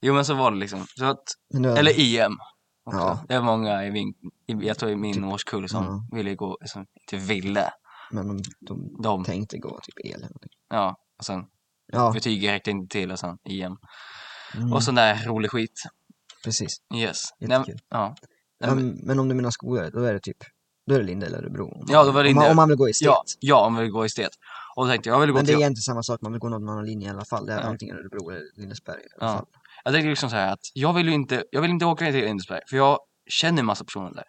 S2: Jo men så var det liksom. Så att,
S1: Men då-
S2: Eller EM. Också.
S1: Ja. Typ.
S2: Det är många i min, i- jag tror i min årskull som
S1: Ja.
S2: ville gå, som inte ville.
S1: Men de, de
S2: De,
S1: tänkte gå typ el eller någonting.
S2: ja. Och sen
S1: Ja,
S2: betyget räckte inte till och sen EM.
S1: mm,
S2: Och sån där rolig skit.
S1: precis.
S2: Yes. Nej, men-
S1: Jättekul.
S2: ja. Nej,
S1: Ja,
S2: men-
S1: men, om du menar skolor, då är det typ, då är det Linda eller Örebro. om
S2: Ja, då
S1: man-
S2: var det
S1: om man-
S2: Linda.
S1: Om man vill gå i stet.
S2: ja, ja, om vi går i stet. Och då tänkte jag, jag vill gå
S1: Men det
S2: till...
S1: är egentligen samma sak, man vill gå någon annan linje i alla fall. Det är
S2: Ja.
S1: antingen Örebro eller Lindesberg i alla
S2: Ja.
S1: fall.
S2: Jag tänkte liksom så här att jag vill ju inte, jag vill inte åka ner till Lindesberg för jag känner en massa personer där.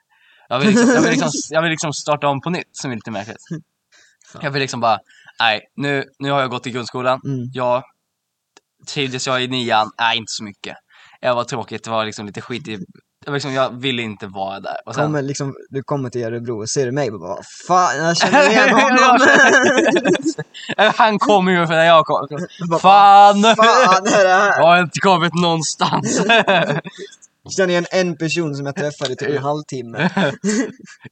S2: Jag vill, liksom, jag, vill liksom, jag vill liksom starta om på nytt som är lite märkligt.
S1: Fan.
S2: Jag vill liksom bara, nej, nu, nu har jag gått i grundskolan.
S1: Mm.
S2: Jag trivdes jag i nian? Nej, inte så mycket. Jag var tråkigt, det var liksom lite skit i... Jag, liksom, jag ville inte vara där. Och sen,
S1: Kommer liksom, du kommer till Örebro och ser du mig och bara Fan, jag känner igen honom!
S2: Ja, Äh, Han kommer ju för när jag kom.
S1: Bara,
S2: Fan!
S1: Fan är det här?
S2: Jag har inte kommit någonstans.
S1: Känner igen en person som jag träffade i typ en halvtimme.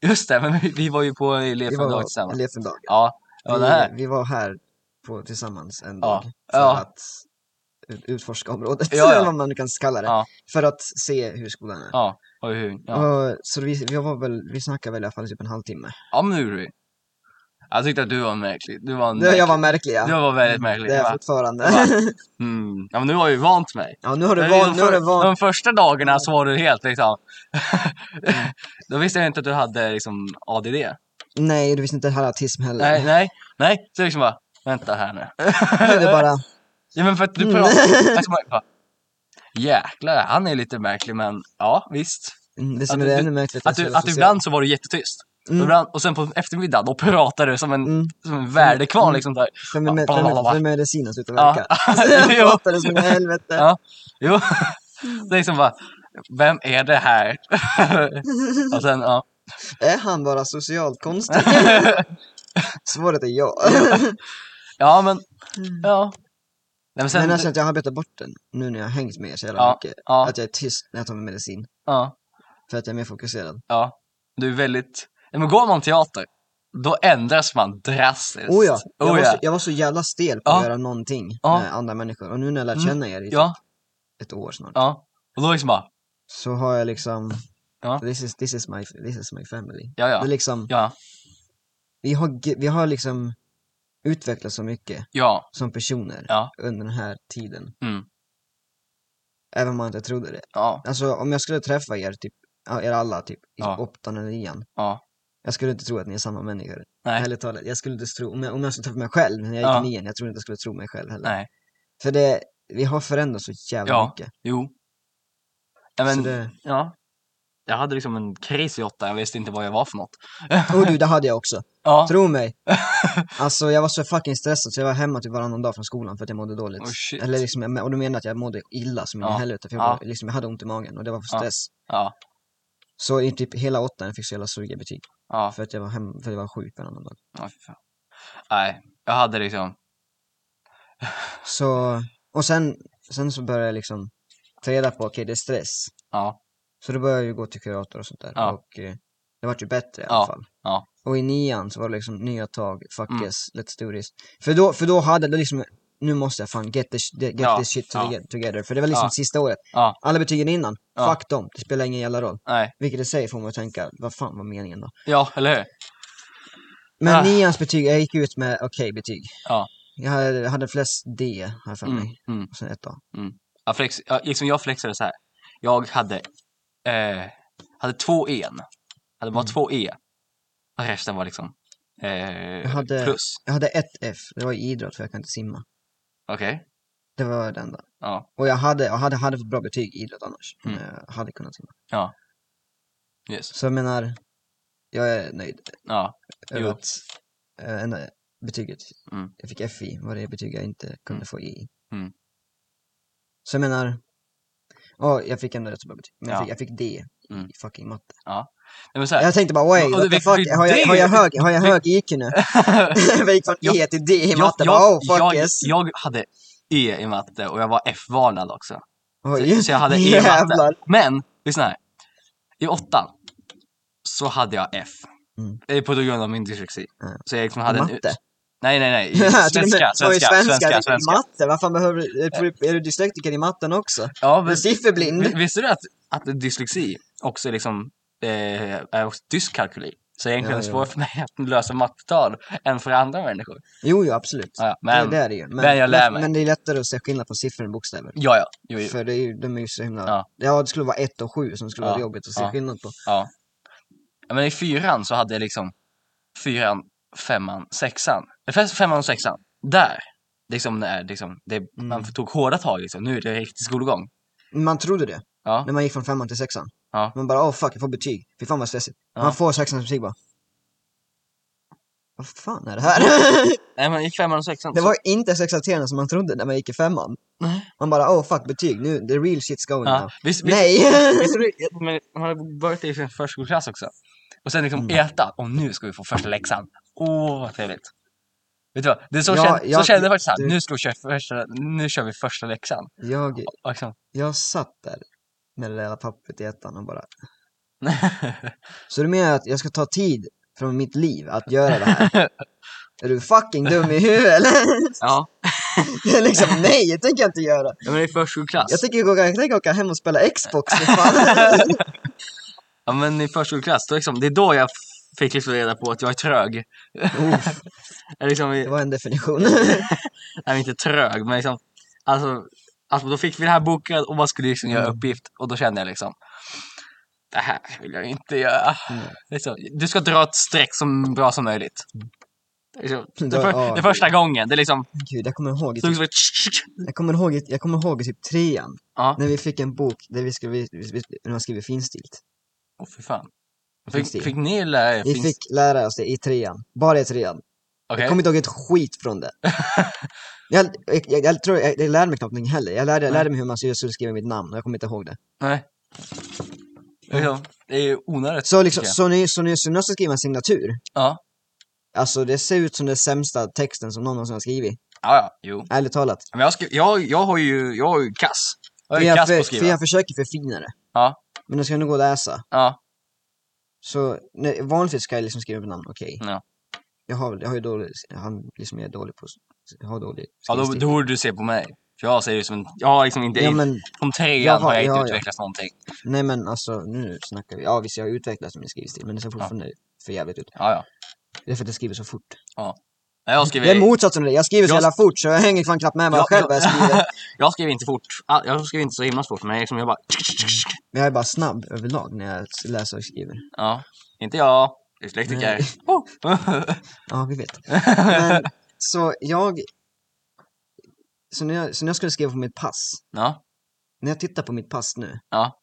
S2: Just det, men vi, vi var ju på
S1: Vi
S2: elevföredrag
S1: var
S2: tillsammans.
S1: elevfördag.
S2: Ja, det var det här.
S1: Vi, vi var här på, tillsammans en
S2: Ja.
S1: dag för
S2: Ja.
S1: att ut- utforska området,
S2: Ja, ja.
S1: eller vad man nu kan kalla det.
S2: Ja.
S1: För att se hur skolan är.
S2: Ja, och hur? Ja,
S1: Och, så vi, vi, var väl, vi snackade väl i alla fall i typ en halvtimme.
S2: ja men det gjorde vi. Jag tyckte att du var märklig. Du var, en
S1: Det,
S2: märklig.
S1: jag var märklig ja.
S2: du var väldigt märklig.
S1: Det är
S2: Jag
S1: jag
S2: bara,
S1: fortfarande.
S2: jag mm. Ja, men nu har jag ju vant mig.
S1: Ja, nu har du
S2: Men
S1: van,
S2: de,
S1: nu har
S2: för,
S1: du van.
S2: de första dagarna så var du helt liksom... Då visste jag inte att du hade liksom ADD.
S1: Nej, du visste inte heller autism heller.
S2: Nej, nej, nej. Så liksom bara, vänta här nu.
S1: Du bara,
S2: Ja men för att du
S1: Mm.
S2: pratar... Alltså, bara, bara, jäklar, han är lite märklig men ja, visst.
S1: mm, det som är
S2: Att du-
S1: ännu märkligt är
S2: Att
S1: så
S2: du,
S1: jävla
S2: att du
S1: social.
S2: ibland så var du jättetyst.
S1: Mm.
S2: Ibland, och sen på eftermiddagen, då pratade du som en,
S1: Mm.
S2: som en värdekvarn
S1: Mm.
S2: liksom. Där.
S1: För, med, med, för, med medicinen slutar
S2: Ja.
S1: verka. Jag
S2: jo,
S1: pratade som i helvete.
S2: Ja. jo.
S1: Mm.
S2: Det är liksom bara, vem är det här? och sen, ja.
S1: Är han bara socialt konstig? Svaret är ja.
S2: Ja men, ja. Nej, men sen,
S1: Men alltså- jag känner att jag har arbetat bort den nu när jag har hängt med er så jävla
S2: Ja,
S1: mycket.
S2: ja.
S1: Att jag är tyst när jag tar min medicin.
S2: ja.
S1: För att jag är mer fokuserad.
S2: Ja, du är väldigt... Ja, men går man teater, då ändras man drastiskt.
S1: Oh ja, jag,
S2: Oh
S1: var
S2: ja.
S1: så, jag var så jävla stel på
S2: Ja.
S1: att göra någonting
S2: Ja.
S1: med andra människor. Och nu när jag lärt
S2: Mm.
S1: känna er i
S2: ja,
S1: ett år snart.
S2: ja. Och då liksom bara,
S1: Så har jag liksom,
S2: Ja.
S1: this, is, this, is my, this is my family.
S2: ja,
S1: Det är
S2: ja,
S1: liksom,
S2: ja,
S1: vi, har, ge- vi har liksom utvecklats så mycket
S2: ja,
S1: som personer
S2: Ja.
S1: under den här tiden.
S2: Mm.
S1: Även om man inte trodde det.
S2: ja,
S1: Alltså om jag skulle träffa er, typ, ja, er alla typ, i
S2: Ja.
S1: åttan eller nian.
S2: ja,
S1: Jag skulle inte tro att ni är samma människor.
S2: Nej.
S1: Ärligt talat, jag skulle inte tro, om jag, om jag skulle träffa mig själv när jag gick
S2: Ja.
S1: i nian, jag tror inte jag skulle tro mig själv heller.
S2: nej,
S1: För det, vi har förändrats så jävla
S2: Ja,
S1: mycket.
S2: Jo. Ja, men,
S1: Så det...
S2: ja. Jag hade liksom en kris i åtta, jag visste inte vad jag var för något.
S1: Och oh, du, det hade jag också.
S2: Ja.
S1: Tro mig. Alltså jag var så fucking stressad så jag var hemma typ varannan dag från skolan för att jag mådde dåligt.
S2: Oh, shit.
S1: Eller liksom, jag- och då menar jag att jag mådde illa som in i
S2: Ja.
S1: helvete för jag,
S2: Ja.
S1: var, liksom, jag hade ont i magen och det var för
S2: Ja.
S1: stress.
S2: Ja.
S1: Så i typ hela åttan fick jag så jävla suriga betyg.
S2: Ja.
S1: För att jag var, hem, för att jag var sjuk varannan dag.
S2: ja fy fan. Nej, jag hade liksom...
S1: Så, och sen, sen så började jag liksom ta reda på, okej det är stress.
S2: Ja.
S1: Så då började jag ju gå till kurator och sånt där.
S2: Ja.
S1: Och eh, det vart ju bättre i
S2: Ja,
S1: alla fall.
S2: ja.
S1: Och i nian så var det liksom nya tag, fuck
S2: Mm.
S1: yes, let's do this. För då, för då hade det liksom, nu måste jag fan get this, get
S2: Ja,
S1: this shit
S2: ja.
S1: toge- together. För det var liksom
S2: Ja.
S1: sista året.
S2: Ja.
S1: Alla betygen innan,
S2: Ja.
S1: fuck dem, det spelar ingen jävla roll.
S2: Nej.
S1: Vilket i sig får man att tänka, vad fan var meningen då?
S2: Ja, eller hur?
S1: Men
S2: Ah.
S1: nians betyg, jag gick ut med okej betyg.
S2: Ja.
S1: Jag hade, jag hade flest D här för mig,
S2: Mm. Mm.
S1: och sen ett A.
S2: Jag, flex, jag, liksom jag flexade så här. Jag hade, eh, hade två E. hade bara
S1: Mm.
S2: två E. Och resten var liksom eh,
S1: hade-
S2: plus.
S1: Jag hade ett F, det var i idrott för jag kan inte simma.
S2: Okej.
S1: Det var det enda.
S2: Ja.
S1: Och jag hade, jag hade, hade fått bra betyg i idrott annars.
S2: Mm.
S1: Men jag hade kunnat simma.
S2: Yes.
S1: Så jag menar, jag är nöjd
S2: Ja.
S1: över
S2: Jo.
S1: att äh, enda betyget
S2: Mm.
S1: jag fick F i var det betyg jag inte kunde
S2: Mm.
S1: få i.
S2: Mm.
S1: Så jag menar, ja, jag fick ändå rätt så bra betyg. Men jag,
S2: Ja.
S1: fick, jag fick D i
S2: Mm.
S1: fucking matte.
S2: Nej, men så här.
S1: Jag tänkte bara, oj,
S2: Och
S1: what
S2: du
S1: the
S2: fick-
S1: fuck,
S2: fick
S1: har jag, har jag
S2: D?
S1: hög, har jag hög IQ nu? jag gick från E till D i matte, bara, oh fuck
S2: jag,
S1: yes.
S2: jag hade E i matte och jag var F-varnad också.
S1: Oj,
S2: så jag hade E i matte.
S1: jävlar.
S2: Men, lyssna här. I åttan så hade jag F.
S1: Mm.
S2: Eh, På grund av min dyslexi.
S1: Mm.
S2: Så jag liksom hade en...
S1: Matte?
S2: Nej, nej, nej. I
S1: Ja, till och med-
S2: Svenska,
S1: oj,
S2: svenska, svenska,
S1: I
S2: svenska. Eh.
S1: Matte, vad fan behöver du? är du- Är du dyslektiker i matten också?
S2: Ja,
S1: Är du
S2: men,
S1: sifferblind?
S2: vi- visste du att, att dyslexi också är liksom eh, är också dyskalkyli? Så egentligen
S1: Ja,
S2: är det
S1: ja.
S2: svårare för mig att lösa mattetal än för andra människor.
S1: Jo, jo, absolut.
S2: Ja, ja, men,
S1: det, det är det ju. Men,
S2: men jag lär mig.
S1: men det är lättare att se skillnad på siffror än bokstäver.
S2: ja, ja. Jo, jo.
S1: För det är ju, de är ju så himla...
S2: Ja.
S1: Ja. det skulle vara ett och sju som skulle
S2: Ja,
S1: vara jobbigt att se
S2: ja.
S1: skillnad på.
S2: Ja, Men i fyran så hade jag liksom fyran, femman, sexan. Eller fem- Femman och sexan. Där. Liksom när liksom, det, man
S1: Mm.
S2: tog hårda tag liksom. Nu är det riktig skolgång.
S1: Man trodde det,
S2: Ja,
S1: när man gick från femman till sexan.
S2: Ja.
S1: Man bara, åh fuck, jag får betyg. Fy fan vad stressigt.
S2: Ja.
S1: Man får sexans betyg bara. Vad fan är det här?
S2: nej men i femman och sexan.
S1: det
S2: så-
S1: var inte så exalterande som man trodde när man gick i femman.
S2: Nej.
S1: Man bara, åh fuck, betyg. Nu, the real shit's going
S2: ja,
S1: now.
S2: visst, visst,
S1: Nej!
S2: Visste du, men man hade börjat i sin förskoleklass också. Och sen liksom
S1: Mm.
S2: äta. Och nu ska vi få första läxan. Åh, vad trevligt. Vet du vad? Det är så,
S1: Ja,
S2: kände, så
S1: jag-
S2: kände jag faktiskt här.
S1: du-
S2: Nu, ska vi köra första, nu kör vi första läxan.
S1: jag,
S2: Och liksom,
S1: jag satt där med det där lilla pappret i ettan och bara, Så du menar att jag ska ta tid från mitt liv att göra det här? Är du fucking dum i huvudet eller?
S2: ja.
S1: liksom nej, det tänker jag inte göra.
S2: ja, men i förskoleklass.
S1: Jag tänker gå- jag tänker åka hem och spela Xbox för fan.
S2: Ja, men i förskoleklass. Då liksom, det är då jag f- fick liksom reda på att jag är trög.
S1: Uff,
S2: Jag liksom,
S1: det
S2: jag
S1: var en definition.
S2: är inte trög, men liksom. Alltså, alltså, då fick vi det här bokat och man skulle liksom göra
S1: Mm.
S2: uppgift. Och då kände jag liksom. Det här vill jag inte göra.
S1: Nej.
S2: Liksom, du ska dra ett streck så bra som möjligt. Liksom, Det,
S1: Dra-
S2: för,
S1: Mm. ja.
S2: det är första gången. Det är liksom...
S1: Gud, jag kommer ihåg, i
S2: Så,
S1: typ,
S2: så,
S1: jag kommer ihåg, i- jag kommer ihåg i typ trean.
S2: ja.
S1: När vi fick en bok där vi skulle, vi, vi, vi, man skriver finstilt.
S2: Åh, fy fan.
S1: Finns det?
S2: Fick, fick ni lära er?
S1: Vi
S2: finns-
S1: fick lära oss det i trean. Bara i trean.
S2: Okej.
S1: Jag kommer inte ihåg ett skit från det. Jag, jag, jag, jag tror, jag, jag lärde mig knappt någonting heller. Jag lärde, jag lärde mig hur man skulle skriva mitt namn och jag kommer inte ihåg det.
S2: Nej. Liksom, det är onödigt.
S1: Så liksom,
S2: tycker jag.
S1: så ni, så ni, så ni ska skriva en signatur?
S2: Ja.
S1: Alltså det ser ut som den sämsta texten som någon någonsin har skrivit,
S2: Ja, ja. Jo.
S1: ärligt talat.
S2: Men jag, skri- jag, jag har ju, jag är ju kass. Jag är
S1: För
S2: ju
S1: jag,
S2: kass på
S1: för,
S2: att
S1: för
S2: skriva.
S1: jag försöker förfina det.
S2: Ja.
S1: Men det ska nog gå att läsa.
S2: Ja,
S1: Så nej, vanligtvis ska jag liksom skriva mitt namn, okej.
S2: Ja.
S1: Jag har, jag har ju dålig, han liksom är dålig på, jag har dålig
S2: ja då,
S1: skrivstil.
S2: då borde du se på mig. För jag ser ju som en, jag har liksom inte,
S1: Ja men,
S2: som trean
S1: Jaha,
S2: har jag inte
S1: ja, ja.
S2: utvecklats någonting.
S1: nej men alltså nu snackar vi, ja visst jag har utvecklats min skrivstil men det ser fortfarande för jävligt ut.
S2: Ja, ja.
S1: Det är för att jag skriver så fort.
S2: Nej, Jag skriver,
S1: Det är motsatsen till det, jag skriver så
S2: Jag-
S1: jävla fort så jag hänger fan knappt med mig
S2: jag,
S1: själv vad jag skriver.
S2: jag skriver inte fort. Ah, Jag skriver inte så himla fort, men liksom jag bara...
S1: Men jag är bara snabb överlag när jag s- läser och skriver.
S2: Ja, inte jag. Dyslektiker. Oh.
S1: Ja, vi vet. Men, så jag så när jag, så när jag skulle skriva på mitt pass,
S2: Ja.
S1: när jag tittar på mitt pass nu,
S2: Ja.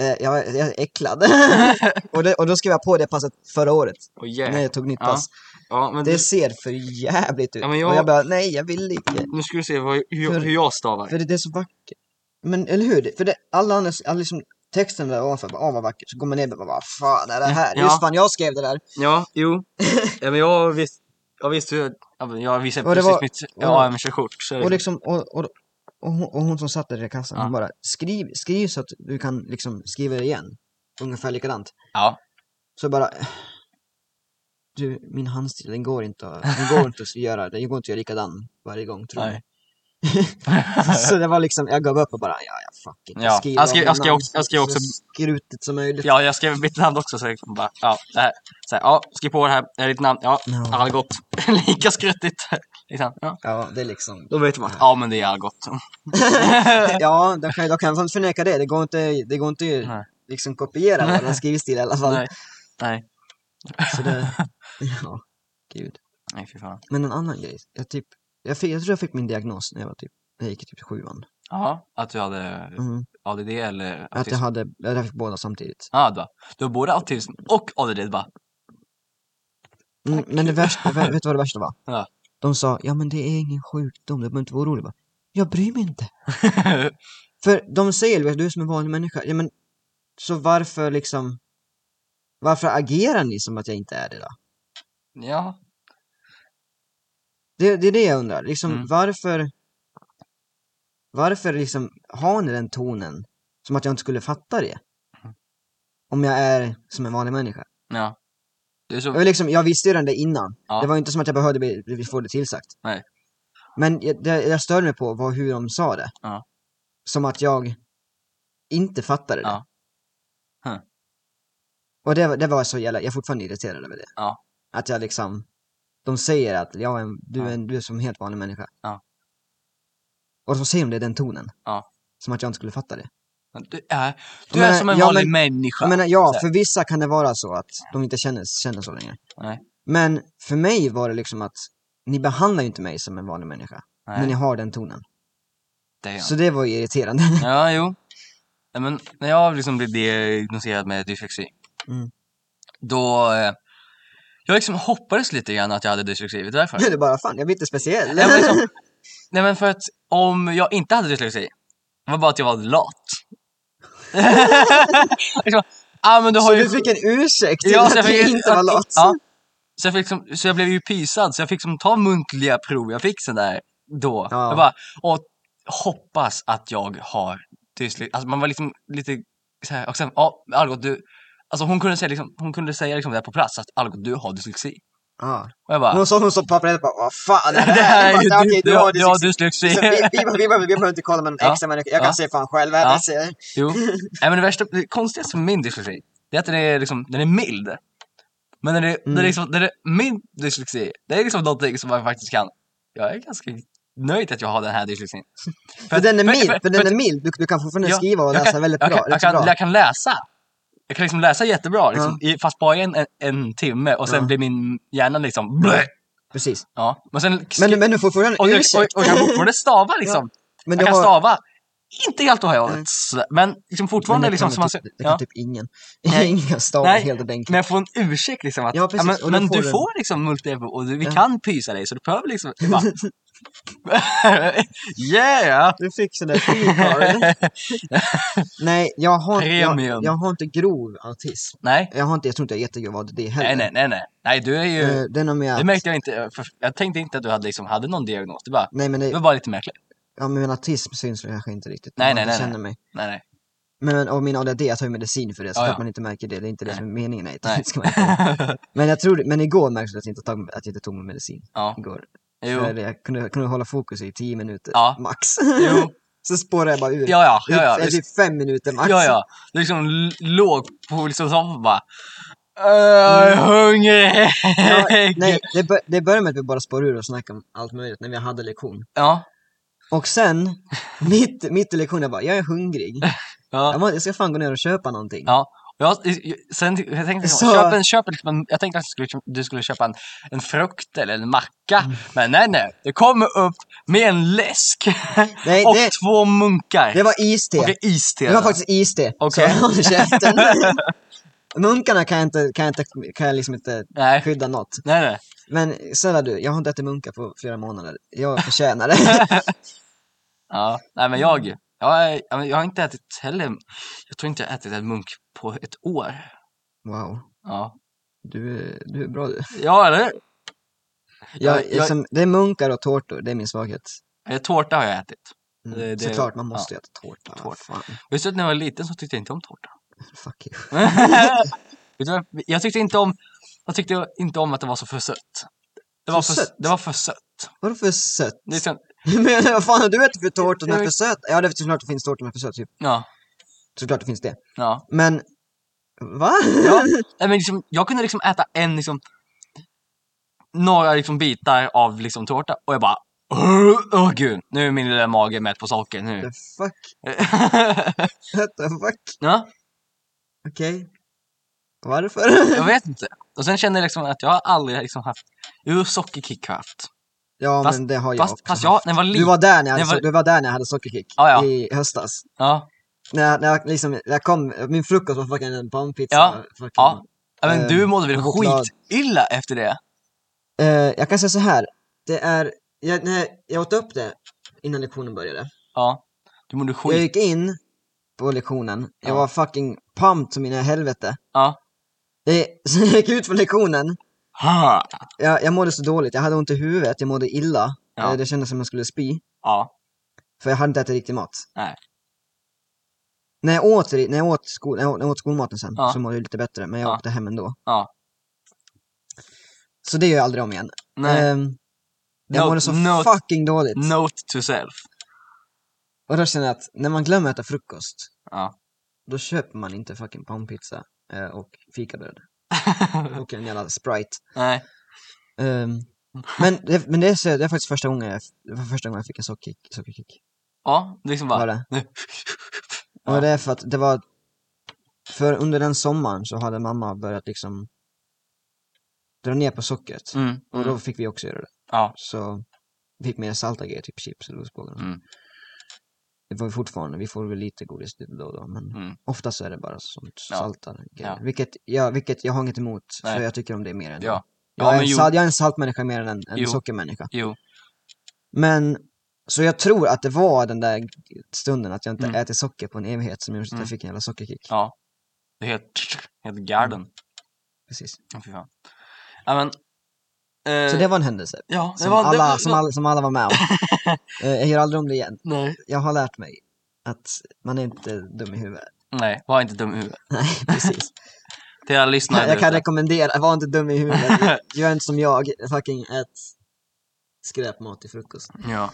S1: eh, jag, jag är äcklad. och, det, och då skrev jag på det passet förra året,
S2: Och yeah.
S1: när jag tog nytt
S2: Ja,
S1: pass.
S2: Ja, men
S1: Det
S2: du,
S1: ser för jävligt ut.
S2: Ja, men jag-
S1: Och jag bara, nej jag vill inte.
S2: nu ska du se vad, hur, jag-
S1: För-
S2: hur jag stavar.
S1: För det, det är så vackert. Men eller hur? Det- För det, alla andra, alla liksom, texten där ovanför, bara, åh vad vackert. Så går man ner och bara, vad fan är det här?
S2: Mm, Ja.
S1: Just fan, jag skrev det där.
S2: Ja, jo. ja, men jag visste, jag visste ju, ja, men jag visade
S1: Och det
S2: precis
S1: var-
S2: mitt
S1: och-
S2: AM-körkort. Så
S1: Och, liksom, och, och, och, hon, och hon som satt där i kassan,
S2: Ja.
S1: hon bara, skriv, skriv så att du kan liksom skriva det igen. Ungefär likadant.
S2: Ja.
S1: Så bara, du, min handstil, den går inte, att- den går inte att göra, den går inte att göra likadan varje gång tror jag.
S2: Nej.
S1: Så det var liksom, jag gav upp och bara, ja ja fuck it.
S2: Ja, jag skrev-
S1: om namn
S2: jag skrev också- jag skrev också-
S1: Så skrutigt som möjligt.
S2: Ja, jag skrev mitt namn också så jag liksom bara, ja, det här. Så här, ja, skriv på det här, det är ditt namn, ja,
S1: Ja.
S2: Algot. Lika skruttigt. Liksom, ja.
S1: Ja, det är liksom.
S2: Då vet man att, ja men det är Algot.
S1: Ja, de kan, de kan fan inte förneka det. Det går inte, det går inte ju
S2: Nej.
S1: liksom kopiera våran skrivstil i alla fall.
S2: Nej. Nej,
S1: Så det, ja, gud.
S2: nej fy fan.
S1: Men en annan grej, jag, typ, jag, fick, jag tror jag fick min diagnos när jag var typ, när jag gick i typ sjuan.
S2: Ja, att du hade
S1: Mm.
S2: ADD eller
S1: Att jag
S2: autism?
S1: hade, jag fick båda samtidigt.
S2: Ja, du, du har både autism och ADD bara.
S1: Mm, men det värsta, vä- vet du vad det värsta var?
S2: Ja.
S1: De sa, ja men det är ingen sjukdom, du behöver inte vara orolig. Jag bara, Jag bryr mig inte. För de säger, "Vet du du är som en vanlig människa, ja men så varför liksom, varför agerar ni som att jag inte är det då?
S2: ja,
S1: Det, det är det jag undrar, liksom
S2: Mm.
S1: varför, varför liksom har ni den tonen som att jag inte skulle fatta det? Om jag är som en vanlig människa.
S2: ja. Det är
S1: Jag,
S2: så,
S1: var liksom, jag visste ju redan det innan.
S2: Ja.
S1: Det var ju inte som att jag behövde bli, bli, få det tillsagt.
S2: Nej.
S1: Men jag, det jag störde mig på var hur de sa det.
S2: Ja.
S1: Som att jag inte fattade det.
S2: Ja. Huh.
S1: Och det, var- det var så jävla, jag är fortfarande irriterad över det.
S2: Ja.
S1: Att jag liksom, de säger att jag är en, du, är
S2: Ja.
S1: en, du är som en helt vanlig människa.
S2: Ja.
S1: Och så säger de det i den tonen.
S2: Ja.
S1: Som att jag inte skulle fatta det.
S2: du är,
S1: Jag
S2: du är
S1: menar,
S2: som en
S1: ja,
S2: vanlig
S1: men-
S2: människa.
S1: Jag menar, ja,
S2: Så här.
S1: för vissa kan det vara så att de inte känner, känner så länge.
S2: Nej.
S1: Men för mig var det liksom att ni behandlar ju inte mig som en vanlig människa,
S2: Nej,
S1: när ni har den tonen.
S2: det är jag.
S1: Så det var ju irriterande.
S2: Ja, jo. Nej, Men när jag liksom blev diagnostiserad med dyslexi,
S1: Mm.
S2: då... Eh, jag liksom hoppades lite grann att jag hade dyslexi, vet du varför?
S1: det är bara, fan, jag blir inte speciell.
S2: Nej men, liksom, nej men för att om jag inte hade dyslexi, det var bara att jag var lat. liksom, ah, men du har
S1: så
S2: ju...
S1: du fick en ursäkt till
S2: Ja, så
S1: att
S2: jag
S1: du
S2: fick-
S1: inte var lat.
S2: Ja. Alltså. Så, jag fick liksom, så jag blev ju pisad, så jag fick som ta muntliga prov. Jag fick sån där då.
S1: Ja.
S2: Jag bara, och hoppas att jag har dyslexi. Alltså man var liksom lite så här, och sen, ja, Algot du. Alltså hon kunde säga liksom, hon kunde säga liksom där på plats att Algot du har dyslexi.
S1: Ja.
S2: Och jag bara,
S1: Hon såg hon så på pappret och bara, vad fan är det
S2: det här är
S1: här?
S2: ju
S1: Jag bara, Okej,
S2: du,
S1: du har
S2: du har
S1: dyslexi.
S2: dyslexi.
S1: Så Vi, vi, vi, vi, behöver- vi behöver inte kolla med någon
S2: Ja.
S1: extra människa, jag kan
S2: Ja.
S1: se fan själv. Alltså,
S2: Ja.
S1: Jag ser.
S2: Jo. Nej, men det värsta, det konstigaste med min dyslexi, det är att den är, liksom, den är mild. Men när det, när det,
S1: Mm.
S2: liksom, när det, min dyslexi, det är liksom någonting som man faktiskt kan. Jag är ganska nöjd att jag har den här dyslexin.
S1: För den är
S2: för-
S1: mild,
S2: för-
S1: för den
S2: för-
S1: är mild. Du, du kan fortfarande
S2: Ja,
S1: skriva och
S2: jag
S1: läsa
S2: kan-
S1: väldigt
S2: Jag
S1: bra.
S2: kan, jag,
S1: rätt
S2: kan,
S1: bra.
S2: jag kan läsa. Jag kan liksom läsa jättebra, liksom, i, fast bara i en, en, en timme och sen
S1: Ja.
S2: blir min hjärna liksom blö.
S1: Precis.
S2: Ja. Men sen...
S1: Men, du- men du får fortfarande
S2: och, jag,
S1: ursäkt.
S2: och, och jag kan fortfarande stava liksom.
S1: men
S2: Jag
S1: du
S2: kan
S1: har-
S2: stava, inte helt och
S1: Mm.
S2: hållet, men liksom
S1: men
S2: fortfarande
S1: det
S2: liksom
S1: kan
S2: som man...
S1: typ,
S2: ser-
S1: Det
S2: ja.
S1: kan typ ingen.
S2: Nej.
S1: Ingen stav
S2: Nej.
S1: helt ordentligt.
S2: Men jag får en ursäkt liksom att,
S1: Ja,
S2: ja,
S1: precis, och då
S2: men, men
S1: får
S2: du
S1: du-
S2: får liksom multilevel och du, vi
S1: Ja.
S2: kan pysa dig så du behöver liksom jag bara, Yeah!
S1: Du fick sån där frikard. Nej, jag har,
S2: Premium.
S1: jag, jag har inte grov autism.
S2: Nej,
S1: Jag, har inte, jag tror inte jag är jättegrov ADD heller.
S2: nej, nej, nej, nej, nej, du är ju,
S1: Eh, Det är nog mer
S2: det
S1: att,
S2: märkte jag inte, för, jag tänkte inte att du hade liksom, hade någon diagnos, det, bara,
S1: nej men,
S2: det var
S1: det,
S2: bara lite märkligt.
S1: ja, men min autism syns väl kanske inte riktigt. man
S2: Nej, nej,
S1: inte
S2: nej,
S1: känner mig.
S2: Nej, nej.
S1: Men och min ADD, jag tar ju medicin för det, så
S2: Ja,
S1: att
S2: ja.
S1: man inte märker det. Det är inte det
S2: Nej.
S1: som är meningen. Nej,
S2: Nej.
S1: det ska man inte göra. men jag tror, men igår märkte jag att jag inte tog, att jag inte tog min medicin.
S2: Ja,
S1: Igår.
S2: jo,
S1: För jag kunde, kunde hålla fokus i tio minuter,
S2: Ja.
S1: max.
S2: jo,
S1: så spårade jag bara ur.
S2: ja, ja, ja,
S1: Typ-
S2: ja,
S1: typ fem minuter max.
S2: ja, ja. Du liksom l- låg på liksom soffan och bara, "Äh, jag är hungrig!
S1: Mm. Ja, nej, det, bör, det började med att vi bara spår ur och snackade om allt möjligt när vi hade lektion.
S2: Ja,
S1: Och sen, mitt, mitt i lektionen, jag bara, jag är hungrig.
S2: ja.
S1: Jag, må, jag ska fan gå ner och köpa någonting.
S2: Ja, Ja, i- i- sen, jag tänkte,
S1: Så-
S2: köp en, köp liksom en, jag tänkte att du skulle, du skulle köpa en, en frukt eller en macka.
S1: Mm.
S2: Men nej, nej. Det kommer upp med en läsk
S1: Nej,
S2: och
S1: det,
S2: två munkar.
S1: det var iste.
S2: och det är iste.
S1: Det var faktiskt iste.
S2: Okej.
S1: Så håll käften. Munkarna kan jag, inte, kan, jag inte, kan jag liksom inte
S2: Nej,
S1: skydda något.
S2: nej, nej.
S1: Men snälla du, jag har inte ätit munkar på flera månader. Jag förtjänar det.
S2: Ja, nej men jag, jag, är- ja, men jag har inte ätit heller, jag tror inte jag har ätit en munk på ett år.
S1: Wow.
S2: Ja,
S1: Du, är- du är bra du.
S2: ja eller hur?
S1: Jag,
S2: jag-
S1: liksom, det är munkar och tårtor, det är min svaghet.
S2: Eh, Tårta har jag ätit.
S1: Mm.
S2: Det- det-
S1: Såklart, man måste äta tårta. vad
S2: Tårta.
S1: Fan.
S2: Visst du att när jag var liten så tyckte jag inte om tårta?
S1: Fuck you.
S2: Vet du vad? jag tyckte inte om, jag tyckte inte om att det var så för sött. Det var
S1: För
S2: för,
S1: sött?
S2: Det var för sött.
S1: Vadå för sött?
S2: Det är sen,
S1: Men vad fan har du ätit för tårta som är
S2: Jag-
S1: för söt? Ja, det är såklart det finns tårtor som är för söt, typ.
S2: ja,
S1: Såklart det finns det.
S2: ja.
S1: Men, va?
S2: ja. Nej, men liksom, jag kunde liksom äta en, liksom, några liksom bitar av liksom tårta och jag bara Åh åh, gud, nu är min lilla mage mätt på socker nu.
S1: The fuck? What the fuck?
S2: ja,
S1: Okej. Varför?
S2: jag vet inte. Och sen känner jag liksom att jag har aldrig liksom haft, jo sockerkick har jag haft.
S1: ja,
S2: Fast-
S1: men det har jag
S2: Fast,
S1: också
S2: fast
S1: haft.
S2: jag, när jag var
S1: Du
S2: liten,
S1: var där när jag hade,
S2: Det var-
S1: so- du var där när jag hade sockerkick.
S2: Ja, ja.
S1: I höstas.
S2: ja,
S1: När, jag- när jag liksom, när jag kom, min frukost var fucking en panpizza.
S2: Ja.
S1: Fucking-
S2: Ja. Ja, men du
S1: Ehm,
S2: mådde väl
S1: choklad.
S2: skitilla efter det?
S1: Eh, jag kan säga så här. Det är, jag, när jag åt upp det innan lektionen började.
S2: Ja. Du mådde
S1: Jag
S2: skit...
S1: gick in på lektionen, jag
S2: Ja.
S1: var fucking pumped som in i helvete.
S2: Ja.
S1: Det, så jag gick ut från lektionen,
S2: Ha.
S1: jag, jag mådde så dåligt, jag hade ont i huvudet, jag mådde illa.
S2: Ja.
S1: Eh, Det kändes som jag skulle spy,
S2: Ja.
S1: för jag hade inte ätit riktig mat.
S2: Nej.
S1: När jag åt, ri- när jag åt, skol, när jag åt, när jag åt skolmaten sen
S2: Ja.
S1: så mådde jag lite bättre, men jag
S2: Ja.
S1: åkte hem ändå.
S2: Ja.
S1: Så det gör jag aldrig om igen.
S2: Nej.
S1: Ehm, jag
S2: Note-
S1: mådde så
S2: note-
S1: fucking dåligt.
S2: Note to self.
S1: Och då känner jag att när man glömmer att äta frukost,
S2: Ja.
S1: då köper man inte fucking pannpizza eh, och fikabröd. Och en jävla Sprite.
S2: Nej.
S1: Ehm, men det, men det, är, så- det är faktiskt första gången jag, det var första gången jag fick en sockerkick. sockerkick
S2: Ja, liksom
S1: var
S2: bara...
S1: det.
S2: Nu.
S1: Och
S2: Ja.
S1: det är för att det var, för under den sommaren så hade mamma börjat liksom dra ner på sockret.
S2: Mm.
S1: Och
S2: Mm.
S1: då fick vi också göra det.
S2: Ja.
S1: Så vi fick mer salta grejer, typ chips eller ostbågar.
S2: Mm.
S1: Det var vi fortfarande, vi får väl lite godis lite då och då, men
S2: Mm.
S1: oftast så är det bara sånt
S2: Ja.
S1: saltade grejer.
S2: Ja.
S1: Vilket, jag, vilket jag har inget emot, för
S2: Nej.
S1: jag tycker om det mer än
S2: Ja.
S1: Jag, är
S2: Ja,
S1: en
S2: men jo.
S1: salt, jag är en saltmänniska mer än en, en
S2: Jo.
S1: sockermänniska.
S2: Jo.
S1: Men, så jag tror att det var den där stunden att jag inte
S2: Mm.
S1: ätit socker på en evighet som gjorde att jag
S2: Mm.
S1: fick en jävla sockerkick.
S2: Ja. Det är helt... Helt garden.
S1: Precis.
S2: Ja, Fy fan. Ja, men... Eh,
S1: Så det var en händelse.
S2: Ja, det
S1: Som,
S2: var... det
S1: alla,
S2: var-
S1: som, alla, som alla var med om. Eh, jag gör aldrig om det igen.
S2: Nej.
S1: Jag har lärt mig att man är inte dum i huvudet.
S2: Nej, var inte dum i huvudet.
S1: Nej, precis.
S2: Till alla lyssnare
S1: jag
S2: där
S1: kan
S2: ute.
S1: rekommendera, var inte dum i huvudet. Gör inte som jag, fucking ät skräpmat till frukost.
S2: Ja.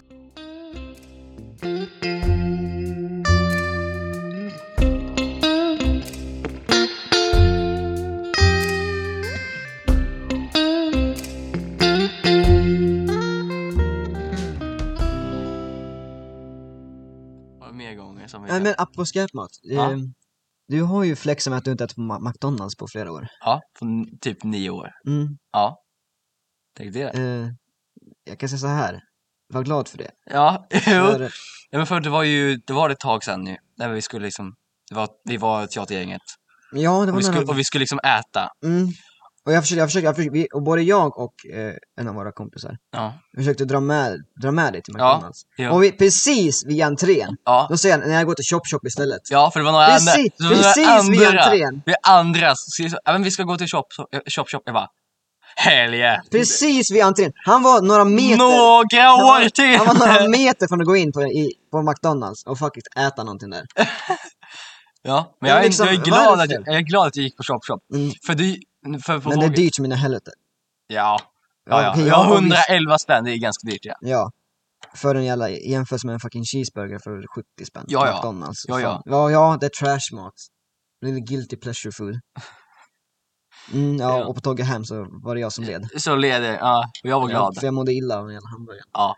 S2: Har du mer gånger som vi...
S1: Nej men apropå skräpmat.
S2: Ja.
S1: Eh, du har ju flexat med att du inte ätit på Ma- McDonalds på flera år.
S2: Ja, på n- typ nio år.
S1: Mm,
S2: Ja. Tänk det.
S1: eh, jag kan säga så här. var glad för det.
S2: Ja, jo.
S1: För,
S2: Ja, men för det var ju, det var ett tag sedan nu. När vi skulle liksom, det var, vi var teatergänget.
S1: ja, det
S2: Och
S1: var
S2: vi, skulle,
S1: någon
S2: och vi skulle liksom äta.
S1: mm. Och jag försökte, jag försökte, jag försökte vi, och både jag och eh, en av våra kompisar
S2: Ja.
S1: försökte dra med, dra med dig till
S2: Ja,
S1: McDonalds.
S2: ja.
S1: Och vi, precis vid entrén,
S2: Ja.
S1: då säger han, när jag går till Chop Chop istället.
S2: Ja, för det var några andra.
S1: Precis-
S2: det var några
S1: precis vid entrén.
S2: Vi andra. Så, så, ja, men vi ska gå till shop, så- eh, shop, shop. Jag bara, helge.
S1: Precis vid entrén. Han var några meter
S2: Några
S1: Han
S2: år
S1: var-
S2: till!
S1: Han var några meter från att gå in på, i, på McDonalds och faktiskt äta någonting där.
S2: Ja, men
S1: Ja,
S2: jag, är-
S1: liksom,
S2: jag, är glad att,
S1: varför?
S2: jag är glad att jag gick på shop, shop.
S1: Mm.
S2: För du, för på
S1: Men det är
S2: tåget-
S1: dyrt som mina helvete.
S2: Ja. Ja, ja.
S1: okej,
S2: Jag har
S1: om vi-
S2: 111 spänn, det är ganska dyrt ja.
S1: Ja. För en jävla, i jämförelse med en fucking cheeseburger för 70 spänn.
S2: Ja,
S1: på
S2: ja.
S1: McDonalds.
S2: Ja, ja.
S1: Fan. ja, ja, det är trash mat. Lite guilty pleasure food. Mm, ja,
S2: Ja.
S1: och på tåget hem så var det jag som led.
S2: Så leder, ja. Och jag var
S1: Ja,
S2: glad.
S1: för jag mådde illa av den jävla hamburgaren.
S2: Ja.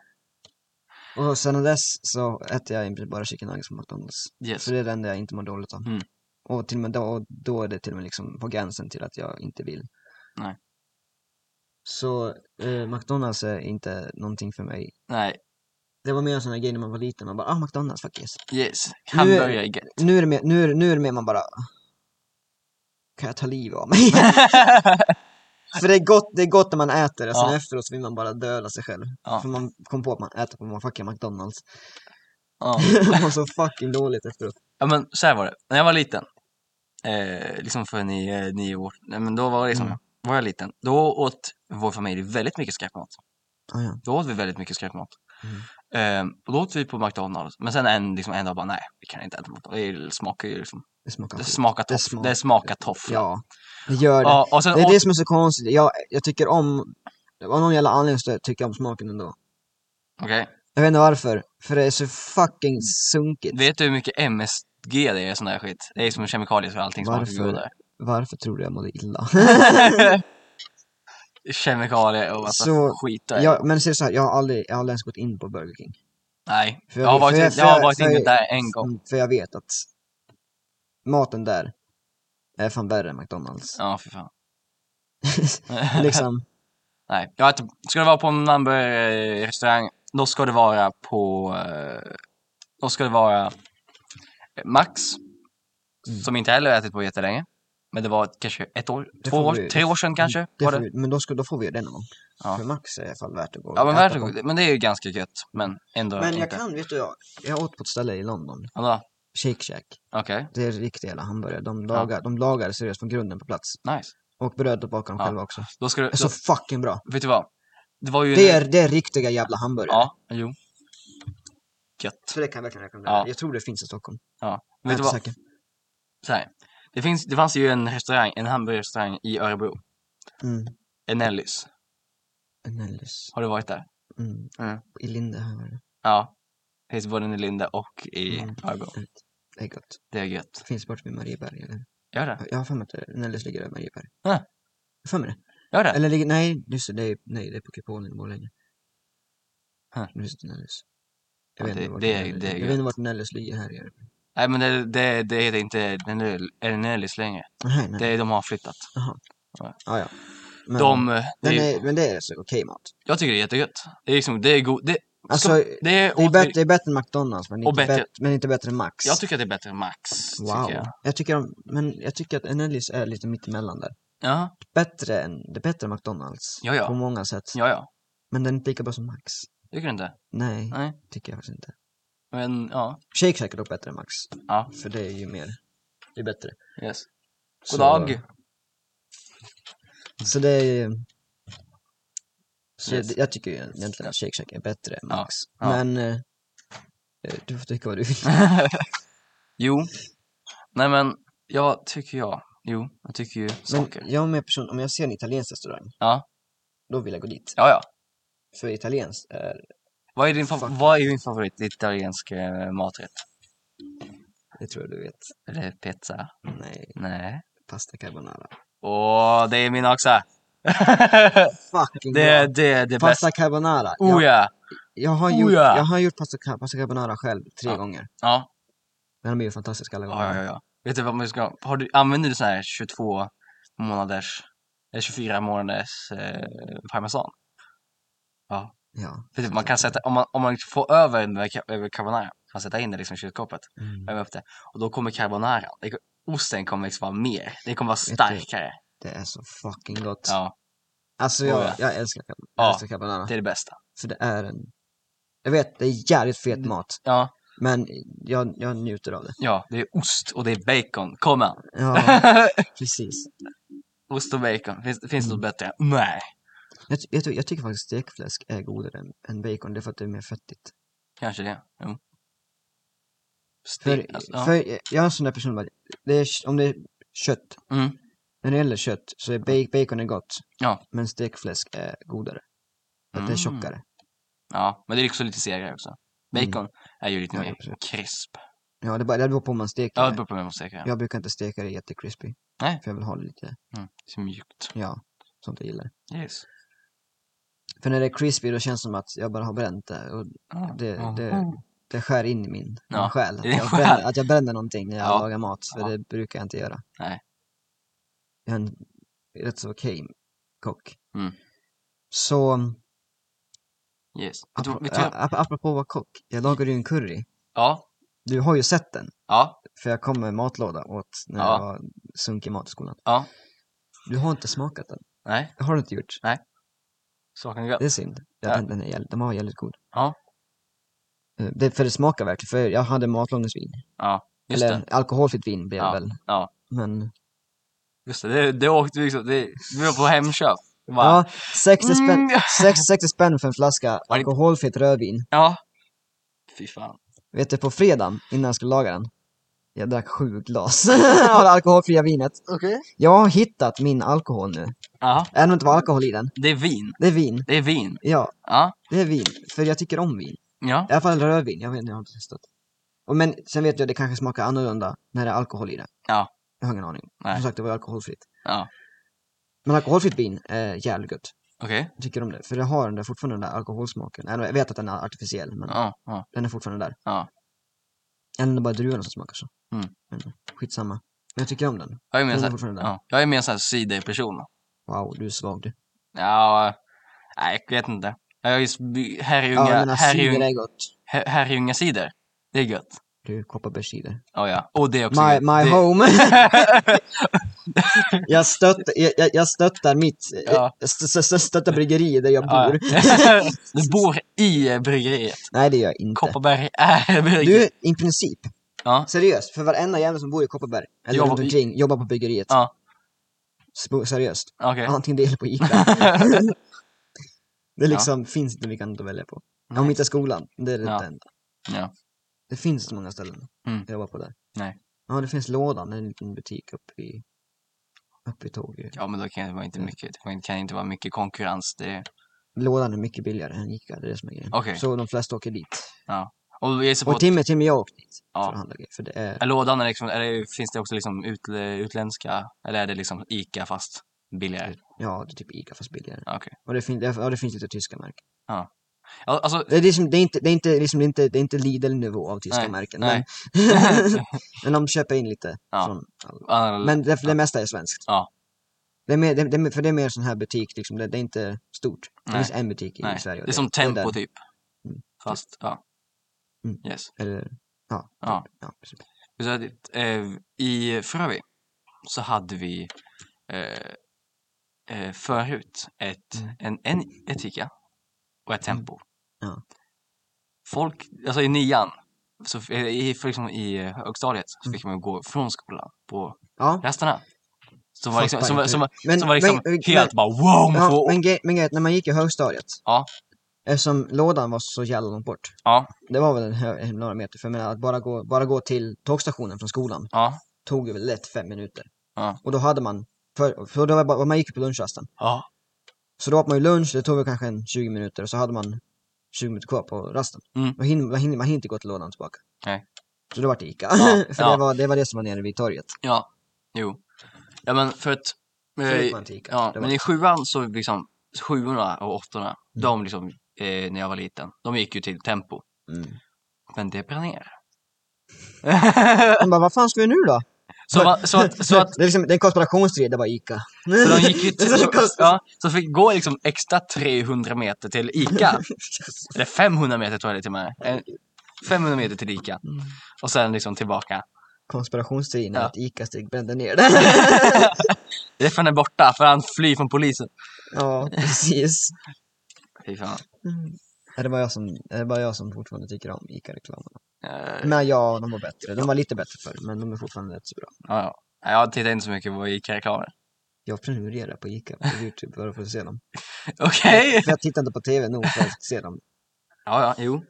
S1: Och sen dess så äter jag bara chicken nuggets på McDonalds.
S2: Yes.
S1: För det är det enda jag inte mår dåligt av.
S2: Mm.
S1: Och till och med då, då är det till och med liksom på gränsen till att jag inte vill.
S2: Nej.
S1: Så eh, McDonalds är inte någonting för mig.
S2: Nej,
S1: Det var mer en sån här grej när man var liten, man bara ah McDonalds, fuck yes.
S2: yes.
S1: Nu är-
S2: Hamburgare är gött.
S1: Nu är det mer, nu är, det- nu är det mer man bara kan jag ta livet av mig? För det är, gott, det är gott när man äter det, sen
S2: Ja.
S1: efteråt så vill man bara döla sig själv.
S2: Ja.
S1: För man kom på att man äter på fucking McDonalds.
S2: ja.
S1: man mår så fucking dåligt efteråt.
S2: ja, men så här var det. När jag var liten, eh, liksom för nio, nio år, nej, men då var det liksom,
S1: Mm.
S2: var jag liten, då åt vår familj väldigt mycket skräpmat.
S1: Ah, ja.
S2: Då åt vi väldigt mycket skräpmat.
S1: Mm.
S2: Eh, och då åt vi på McDonalds, men sen en, liksom, en dag bara nej, vi kan inte äta McDonalds. Det smakar ju liksom,
S1: Det smakar
S2: det
S1: skit.
S2: smakar
S1: Det
S2: toffla.
S1: smakar-
S2: Det smakar toffla.
S1: Ja, det gör det.
S2: Ja, och sen
S1: Det är
S2: åt,
S1: det som är så konstigt. Jag, jag tycker om, av någon jävla anledning så tycker jag om smaken ändå.
S2: okej.
S1: Jag vet inte varför, för det är så fucking sunkigt.
S2: Vet du hur mycket MSG det är i sån där skit? Det är som kemikalier så allting smakar
S1: Varför?
S2: godare.
S1: Varför tror du jag mådde illa?
S2: Kemikalier och massa
S1: Så,
S2: skit. där.
S1: jag, men ser så här, jag har, aldrig, jag har aldrig ens gått in på Burger King.
S2: Nej,
S1: För
S2: jag har varit,
S1: för
S2: jag,
S1: för
S2: har varit
S1: för
S2: inne
S1: jag-
S2: där en gång.
S1: Mm, För jag vet att maten där är fan värre än McDonalds.
S2: Ja, fy fan.
S1: liksom,
S2: Nej, jag äter, ska det vara på en hamburgerrestaurang, då ska det vara på... eh, Då ska det vara eh, Max,
S1: Mm.
S2: som inte heller har ätit på jättelänge. Men det var ett- kanske ett år,
S1: Det
S2: två
S1: får
S2: år,
S1: vi-
S2: tre år sedan kanske.
S1: det
S2: var
S1: får
S2: det.
S1: vi, men då, ska, då får vi göra det någon gång.
S2: Ja.
S1: För Max är i alla fall värt att gå och
S2: Ja, men
S1: äta
S2: varsågod.
S1: på.
S2: Men det är ju ganska gött, men ändå
S1: Men jag
S2: inte.
S1: kan, vet du, jag, jag åt på ett ställe i London,
S2: Alltså,
S1: Shake Shack.
S2: Okej,
S1: Det är riktiga jävla hamburgare. De lagar, de lagar seriöst från grunden på plats.
S2: nice.
S1: Och brödet bakar de
S2: Ja.
S1: själva också.
S2: Då ska du,
S1: Det är så
S2: då,
S1: fucking bra.
S2: vet du vad? Det var ju...
S1: Alltså- Det är, det är riktiga jävla hamburgare.
S2: Ja, jo. Gött.
S1: Så det kan jag verkligen rekommendera.
S2: Ja.
S1: Jag tror det finns i Stockholm. Jag är
S2: Vet du
S1: inte
S2: vad?
S1: säker.
S2: så här. Det, finns, det fanns ju en restaurang, en hamburgerrestaurang i Örebro.
S1: Mm.
S2: En Ellys.
S1: Nellis.
S2: Har du varit där?
S1: Mm.
S2: Mm.
S1: I Linde här var det.
S2: Ja. Det finns både i Linda och i
S1: Mm.
S2: Örebro.
S1: Det är gott.
S2: Det är gött.
S1: Finns bort vid Marieberg eller?
S2: Gör det.
S1: Jag har för mig att det- Nellis ligger över Marieberg.
S2: Ja.
S1: Jag har för mig det.
S2: Gör det.
S1: Eller ligger, nej, just det, det är, nej, det är på kupolen i Borlänge.
S2: Huh.
S1: Just det, Nellis.
S2: Ja,
S1: Jag vet
S2: det-
S1: inte vart
S2: det är-
S1: Nellis-
S2: det är
S1: jag vet
S2: gött.
S1: inte vart Nellis ligger här i Örebro.
S2: Nej men det, det, det heter inte den är- en Ellys längre.
S1: Nej, nej.
S2: Det, de har flyttat.
S1: Ah, ja. Men,
S2: de, eh, det
S1: den
S2: är,
S1: är, men det är så okej mat.
S2: jag tycker det är jättegött. Det är liksom, det är god, det,
S1: Alltså,
S2: det är,
S1: det är,
S2: åt-
S1: bättre, det är bättre än McDonalds men
S2: Och
S1: inte, bättre.
S2: bättre-
S1: men inte bättre än Max.
S2: Jag tycker att det är bättre än Max.
S1: wow.
S2: Tycker jag.
S1: jag tycker om, men jag tycker att Enellis är lite mittemellan där.
S2: Ja,
S1: Bättre än, det är bättre än McDonalds.
S2: Ja, ja.
S1: På många sätt.
S2: ja, ja.
S1: Men den är inte lika bra som Max.
S2: Tycker du inte?
S1: Nej,
S2: Nej.
S1: tycker jag faktiskt inte.
S2: Men ja,
S1: Shake Shack är dock bättre än Max.
S2: Ja.
S1: För det är ju mer, det är bättre.
S2: yes.
S1: Så-
S2: God dag.
S1: Så det är ju... Så
S2: Yes.
S1: det- jag tycker ju egentligen att Shake Shack är bättre än
S2: Ja,
S1: Max.
S2: ja.
S1: Men... eh, Du får tycka vad du vill.
S2: Jo. Nej men, jag tycker jag. Jo, jag tycker ju saker.
S1: Men jag är med person, om jag ser en italiensk restaurang,
S2: Ja.
S1: då vill jag gå dit.
S2: Ja, ja.
S1: För italienskt är
S2: Vad är din, fa-
S1: Fuck.
S2: vad är din favorit italiensk eh, maträtt?
S1: Det tror jag du vet.
S2: Är det pizza?
S1: Nej,
S2: Nej.
S1: pasta carbonara.
S2: Åh, det är min också.
S1: Fucking
S2: det,
S1: bra!
S2: är- det är det bästa.
S1: Pasta carbonara. jag,
S2: Oh ja.
S1: jag, har
S2: oh
S1: gjort,
S2: ja.
S1: jag har gjort pasta, ca- pasta carbonara själv tre
S2: Ja.
S1: gånger.
S2: Ja,
S1: Men de är ju fantastiska alla gånger.
S2: ja, ja, ja. Vet du vad man ska... Har du, använder du sån här 22 månaders... Eller 24 månaders eh, parmesan?
S1: Ja.
S2: Vet du, man kan sätta... Om man, om man får över den där ca- över carbonara, kan man sätta in det liksom i kylskåpet.
S1: Mm.
S2: Värma upp det. Och då kommer carbonara. Det, osten kommer liksom vara mer. Den kommer vara
S1: Vet du-
S2: starkare.
S1: Det är så fucking gott.
S2: Ja,
S1: Alltså
S2: Oh ja.
S1: jag, jag älskar, carbon- jag
S2: Ja.
S1: älskar carbonara.
S2: det är det bästa.
S1: För det är en... Jag vet, det är jävligt fet
S2: Mm.
S1: mat.
S2: Ja,
S1: Men jag, jag njuter av det.
S2: ja, det är ost och det är bacon. Kom igen.
S1: Ja, precis.
S2: Ost och bacon, finns, finns det något
S1: Mm.
S2: bättre? Nej.
S1: Jag, ty- jag, ty- jag tycker faktiskt stekfläsk är godare än, än bacon, det är för att det är mer fettigt.
S2: Kanske det. Jo.
S1: För,
S2: Stek, alltså, ja.
S1: för jag- jag är en sån där person, bara, det är, om det är kött,
S2: Mm.
S1: när det gäller kött så är ba- bacon är gott,
S2: Ja.
S1: men stekfläsk är godare. För att det är
S2: Mm.
S1: tjockare.
S2: ja, men det är också lite segare också. Bacon är ju lite
S1: Mm. Ja,
S2: mer
S1: absolut.
S2: krisp.
S1: Ja, det, bara, det beror på om man steker
S2: Ja, det
S1: det.
S2: beror på vem man steker. Ja.
S1: Jag brukar inte steka det jättekrispy.
S2: Nej.
S1: För jag vill ha det lite,
S2: Mm. Så mjukt.
S1: ja, sånt jag gillar.
S2: Yes.
S1: För när det är crispy då känns det som att jag bara har bränt det. Och
S2: Ja.
S1: Det-
S2: Ja.
S1: det- det skär in i min,
S2: Ja,
S1: min själ. Att
S2: i din
S1: jag,
S2: själ.
S1: bränner, att jag bränner någonting när jag
S2: Ja.
S1: lagar mat, för
S2: Ja.
S1: det brukar jag inte göra.
S2: Nej.
S1: Jag är en rätt så okej kock.
S2: Mm.
S1: Så,
S2: Yes. Vet du,
S1: apropå,
S2: vet du,
S1: ap- ap- apropå att vara kock, jag lagade ju en curry.
S2: ja,
S1: Du har ju sett den,
S2: ja,
S1: för jag kom med matlåda åt när
S2: Ja.
S1: jag var sunkig i mat i skolan.
S2: ja.
S1: Du har inte smakat den,
S2: Nej,
S1: det har du inte gjort.
S2: saken är gött.
S1: Det är synd. Jag
S2: Ja.
S1: tänkte den är jävligt, de har jävligt god.
S2: Ja.
S1: Eh, Det, för det smakar verkligen, för jag hade matlådningsvin.
S2: Ja, just
S1: Eller
S2: det.
S1: alkoholfritt vin blev det
S2: Ja,
S1: väl.
S2: ja.
S1: Men,
S2: Just det, det, det åkte vi liksom, det, vi var på Hemköp. Bara,
S1: ja, 60 spänn,
S2: Mm.
S1: 60, 60 spänn för en flaska
S2: det-
S1: alkoholfritt rödvin.
S2: ja. Fy fan.
S1: Vet du, på fredagen innan jag skulle laga den, jag drack sju glas av det alkoholfria vinet.
S2: Okej.
S1: Jag har hittat min alkohol nu.
S2: Ja,
S1: Även om det inte var alkohol i den.
S2: det är vin.
S1: Det är vin.
S2: Det är vin.
S1: Ja,
S2: Ja,
S1: det är vin. För jag tycker om vin.
S2: ja,
S1: I alla fall rödvin, jag vet inte, jag har inte testat. Och men sen vet jag, det kanske smakar annorlunda när det är alkohol i det.
S2: Ja.
S1: Jag har ingen aning.
S2: Nej.
S1: Som sagt, det var alkoholfritt.
S2: ja.
S1: Men alkoholfritt vin är jävligt gött.
S2: Okej.
S1: Jag tycker om det. För det har den där, fortfarande den där alkoholsmaken. Eller, Jag vet att den är artificiell, men
S2: Ja, ja,
S1: den är fortfarande där.
S2: ja.
S1: Eller om det bara är druvorna som smakar så.
S2: Mm.
S1: Men skitsamma. Men jag tycker om den.
S2: Jag är mer
S1: Den är
S2: såhär,
S1: fortfarande där.
S2: ja. jag är mer såhär cider-person.
S1: Wow, du är svag du.
S2: Ja, nej, jag vet inte. Jag är just by- Herrljunga,
S1: ja, men cider
S2: Herrljunga,
S1: är gott.
S2: Her- Herrljunga cider. Det är gött.
S1: Du, Kopparbergscider.
S2: Ja, ja. Och det är också
S1: My,
S2: gött.
S1: my
S2: det...
S1: home. jag, stöttar, jag, jag- jag stöttar mitt, eh,
S2: Ja.
S1: jag st- st- st- stöttar bryggeriet där jag
S2: Ja,
S1: bor.
S2: ja. du bor i eh, bryggeriet.
S1: Nej, det gör jag inte.
S2: Kopparberg är bryggeriet.
S1: Du, i princip.
S2: Ja.
S1: Seriöst, för varenda jävel som bor i Kopparberg, eller
S2: Jobbar
S1: runt
S2: på
S1: omkring, jobbar på bryggeriet.
S2: Ja.
S1: Sp- Seriöst.
S2: Okej.
S1: Antingen det eller på ICA. det liksom finns inte mycket annat att välja på.
S2: Nej.
S1: Om inte skolan, det är det
S2: Ja.
S1: enda.
S2: Ja.
S1: Det finns inte så många ställen
S2: Mm.
S1: att jobba på där.
S2: Nej.
S1: Ja, det finns Lådan, en liten butik uppe i, uppe i Tågö.
S2: Ja, men då kan det vara inte mycket, det kan inte vara mycket konkurrens. Det...
S1: Lådan är mycket billigare än ICA, det är det som är grejen.
S2: Okej.
S1: Så de flesta åker dit.
S2: Och jag gissar på
S1: Och
S2: att
S1: Timmy, Timmy och jag åker dit för
S2: Ja.
S1: att handla grejer. För det är,
S2: är lådan är liksom, är det, finns det också liksom ut, utländska, eller är det liksom ICA fast billigare?
S1: ja, det är typ ICA fast billigare.
S2: Okej.
S1: Och det, fin- ja, det finns lite tyska märken.
S2: Ja, Alltså,
S1: Det är, liksom, det är inte, det är inte, liksom, det är inte, det är inte Lidl-nivå av tyska
S2: Nej,
S1: märken.
S2: nej.
S1: Men, men de köper in lite.
S2: Ja.
S1: Från, alla.
S2: Mm. ja,
S1: men det, för det mesta är svenskt.
S2: Ja.
S1: Det är mer, det, det, är mer- för det är mer sån här butik, liksom. det, det är inte stort. Det
S2: Nej.
S1: finns en butik i
S2: nej.
S1: Sverige. och
S2: Det är som
S1: där.
S2: Tempo typ.
S1: Mm.
S2: Fast, ja.
S1: Mm.
S2: Yes.
S1: Eller, ja,
S2: Ja.
S1: typ. ja precis.
S2: Så att, eh, I Frövi så hade vi eh, eh, förut ett,
S1: Mm.
S2: en, en ett Ica och ett Tempo.
S1: Ja.
S2: Folk, alltså i nian, så, f- eh, i, för liksom i högstadiet
S1: Mm.
S2: så fick man gå från skolan på
S1: ja.
S2: rasterna. Som var, liksom,
S1: Fattar
S2: som, var-
S1: inte.
S2: som, var-
S1: Men,
S2: som var liksom
S1: men,
S2: helt bara wow!
S1: men,
S2: man
S1: ja,
S2: får-
S1: men, gre- men grejen, när man gick i högstadiet,
S2: Ja.
S1: eftersom lådan var så jävla långt bort,
S2: Ja.
S1: det var väl en, hö- en några meter, för jag menar, att bara gå, bara gå till tågstationen från skolan
S2: Ja,
S1: tog ju väl lätt fem minuter.
S2: Ja.
S1: Och då hade man, för, för då var bara, man gick ju på lunchrasten.
S2: ja,
S1: Så då åt man ju lunch, det tog väl kanske en 20 minuter och så hade man 20 minuter kvar på rasten.
S2: Mm.
S1: Man, hinner, man, hinner, man hinner inte gå till lådan tillbaka.
S2: Nej.
S1: Så då var det Ica.
S2: Ja,
S1: för
S2: ja.
S1: Det, var, det var det som var nere vid torget.
S2: ja, jo. Ja men för att...
S1: Så
S2: eh,
S1: gick man till Ica.
S2: Ja,
S1: det var,
S2: men i sjuan så liksom, sjuorna och åttorna, de liksom, eh, när jag var liten, de gick ju till tempo.
S1: mm.
S2: Men det brann ner.
S1: Man bara, vad fan ska vi nu då?
S2: så, va, så, att, så, att,
S1: det, är liksom, det är en konspirationsstrid, det var Ica.
S2: så de gick ju till,
S1: Det är konst-
S2: ja, så fick gå liksom extra 300 meter till Ica. Eller 500 meter tror jag det till och med. Eh, 500 meter till Ica.
S1: Mm.
S2: Och sen liksom tillbaka.
S1: Konspirationsstriden
S2: Ja.
S1: att Ica-Stig brände ner det.
S2: Det är för han är borta, för han flyr från polisen.
S1: ja, precis.
S2: Fy fan.
S1: Mm. Är det bara jag som, är det bara jag som fortfarande tycker om Ica-reklamen?
S2: Eh,
S1: Men ja, de var bättre. De var lite bättre förr, men de är fortfarande rätt så bra.
S2: ja, ja. Nej, Jag tittar inte så mycket på Ica-reklamer.
S1: Jag prenumererar på Ica på Youtube bara för att se dem.
S2: Okej!
S1: För jag tittar inte på TV nog för att se dem.
S2: Ja, ja, jo.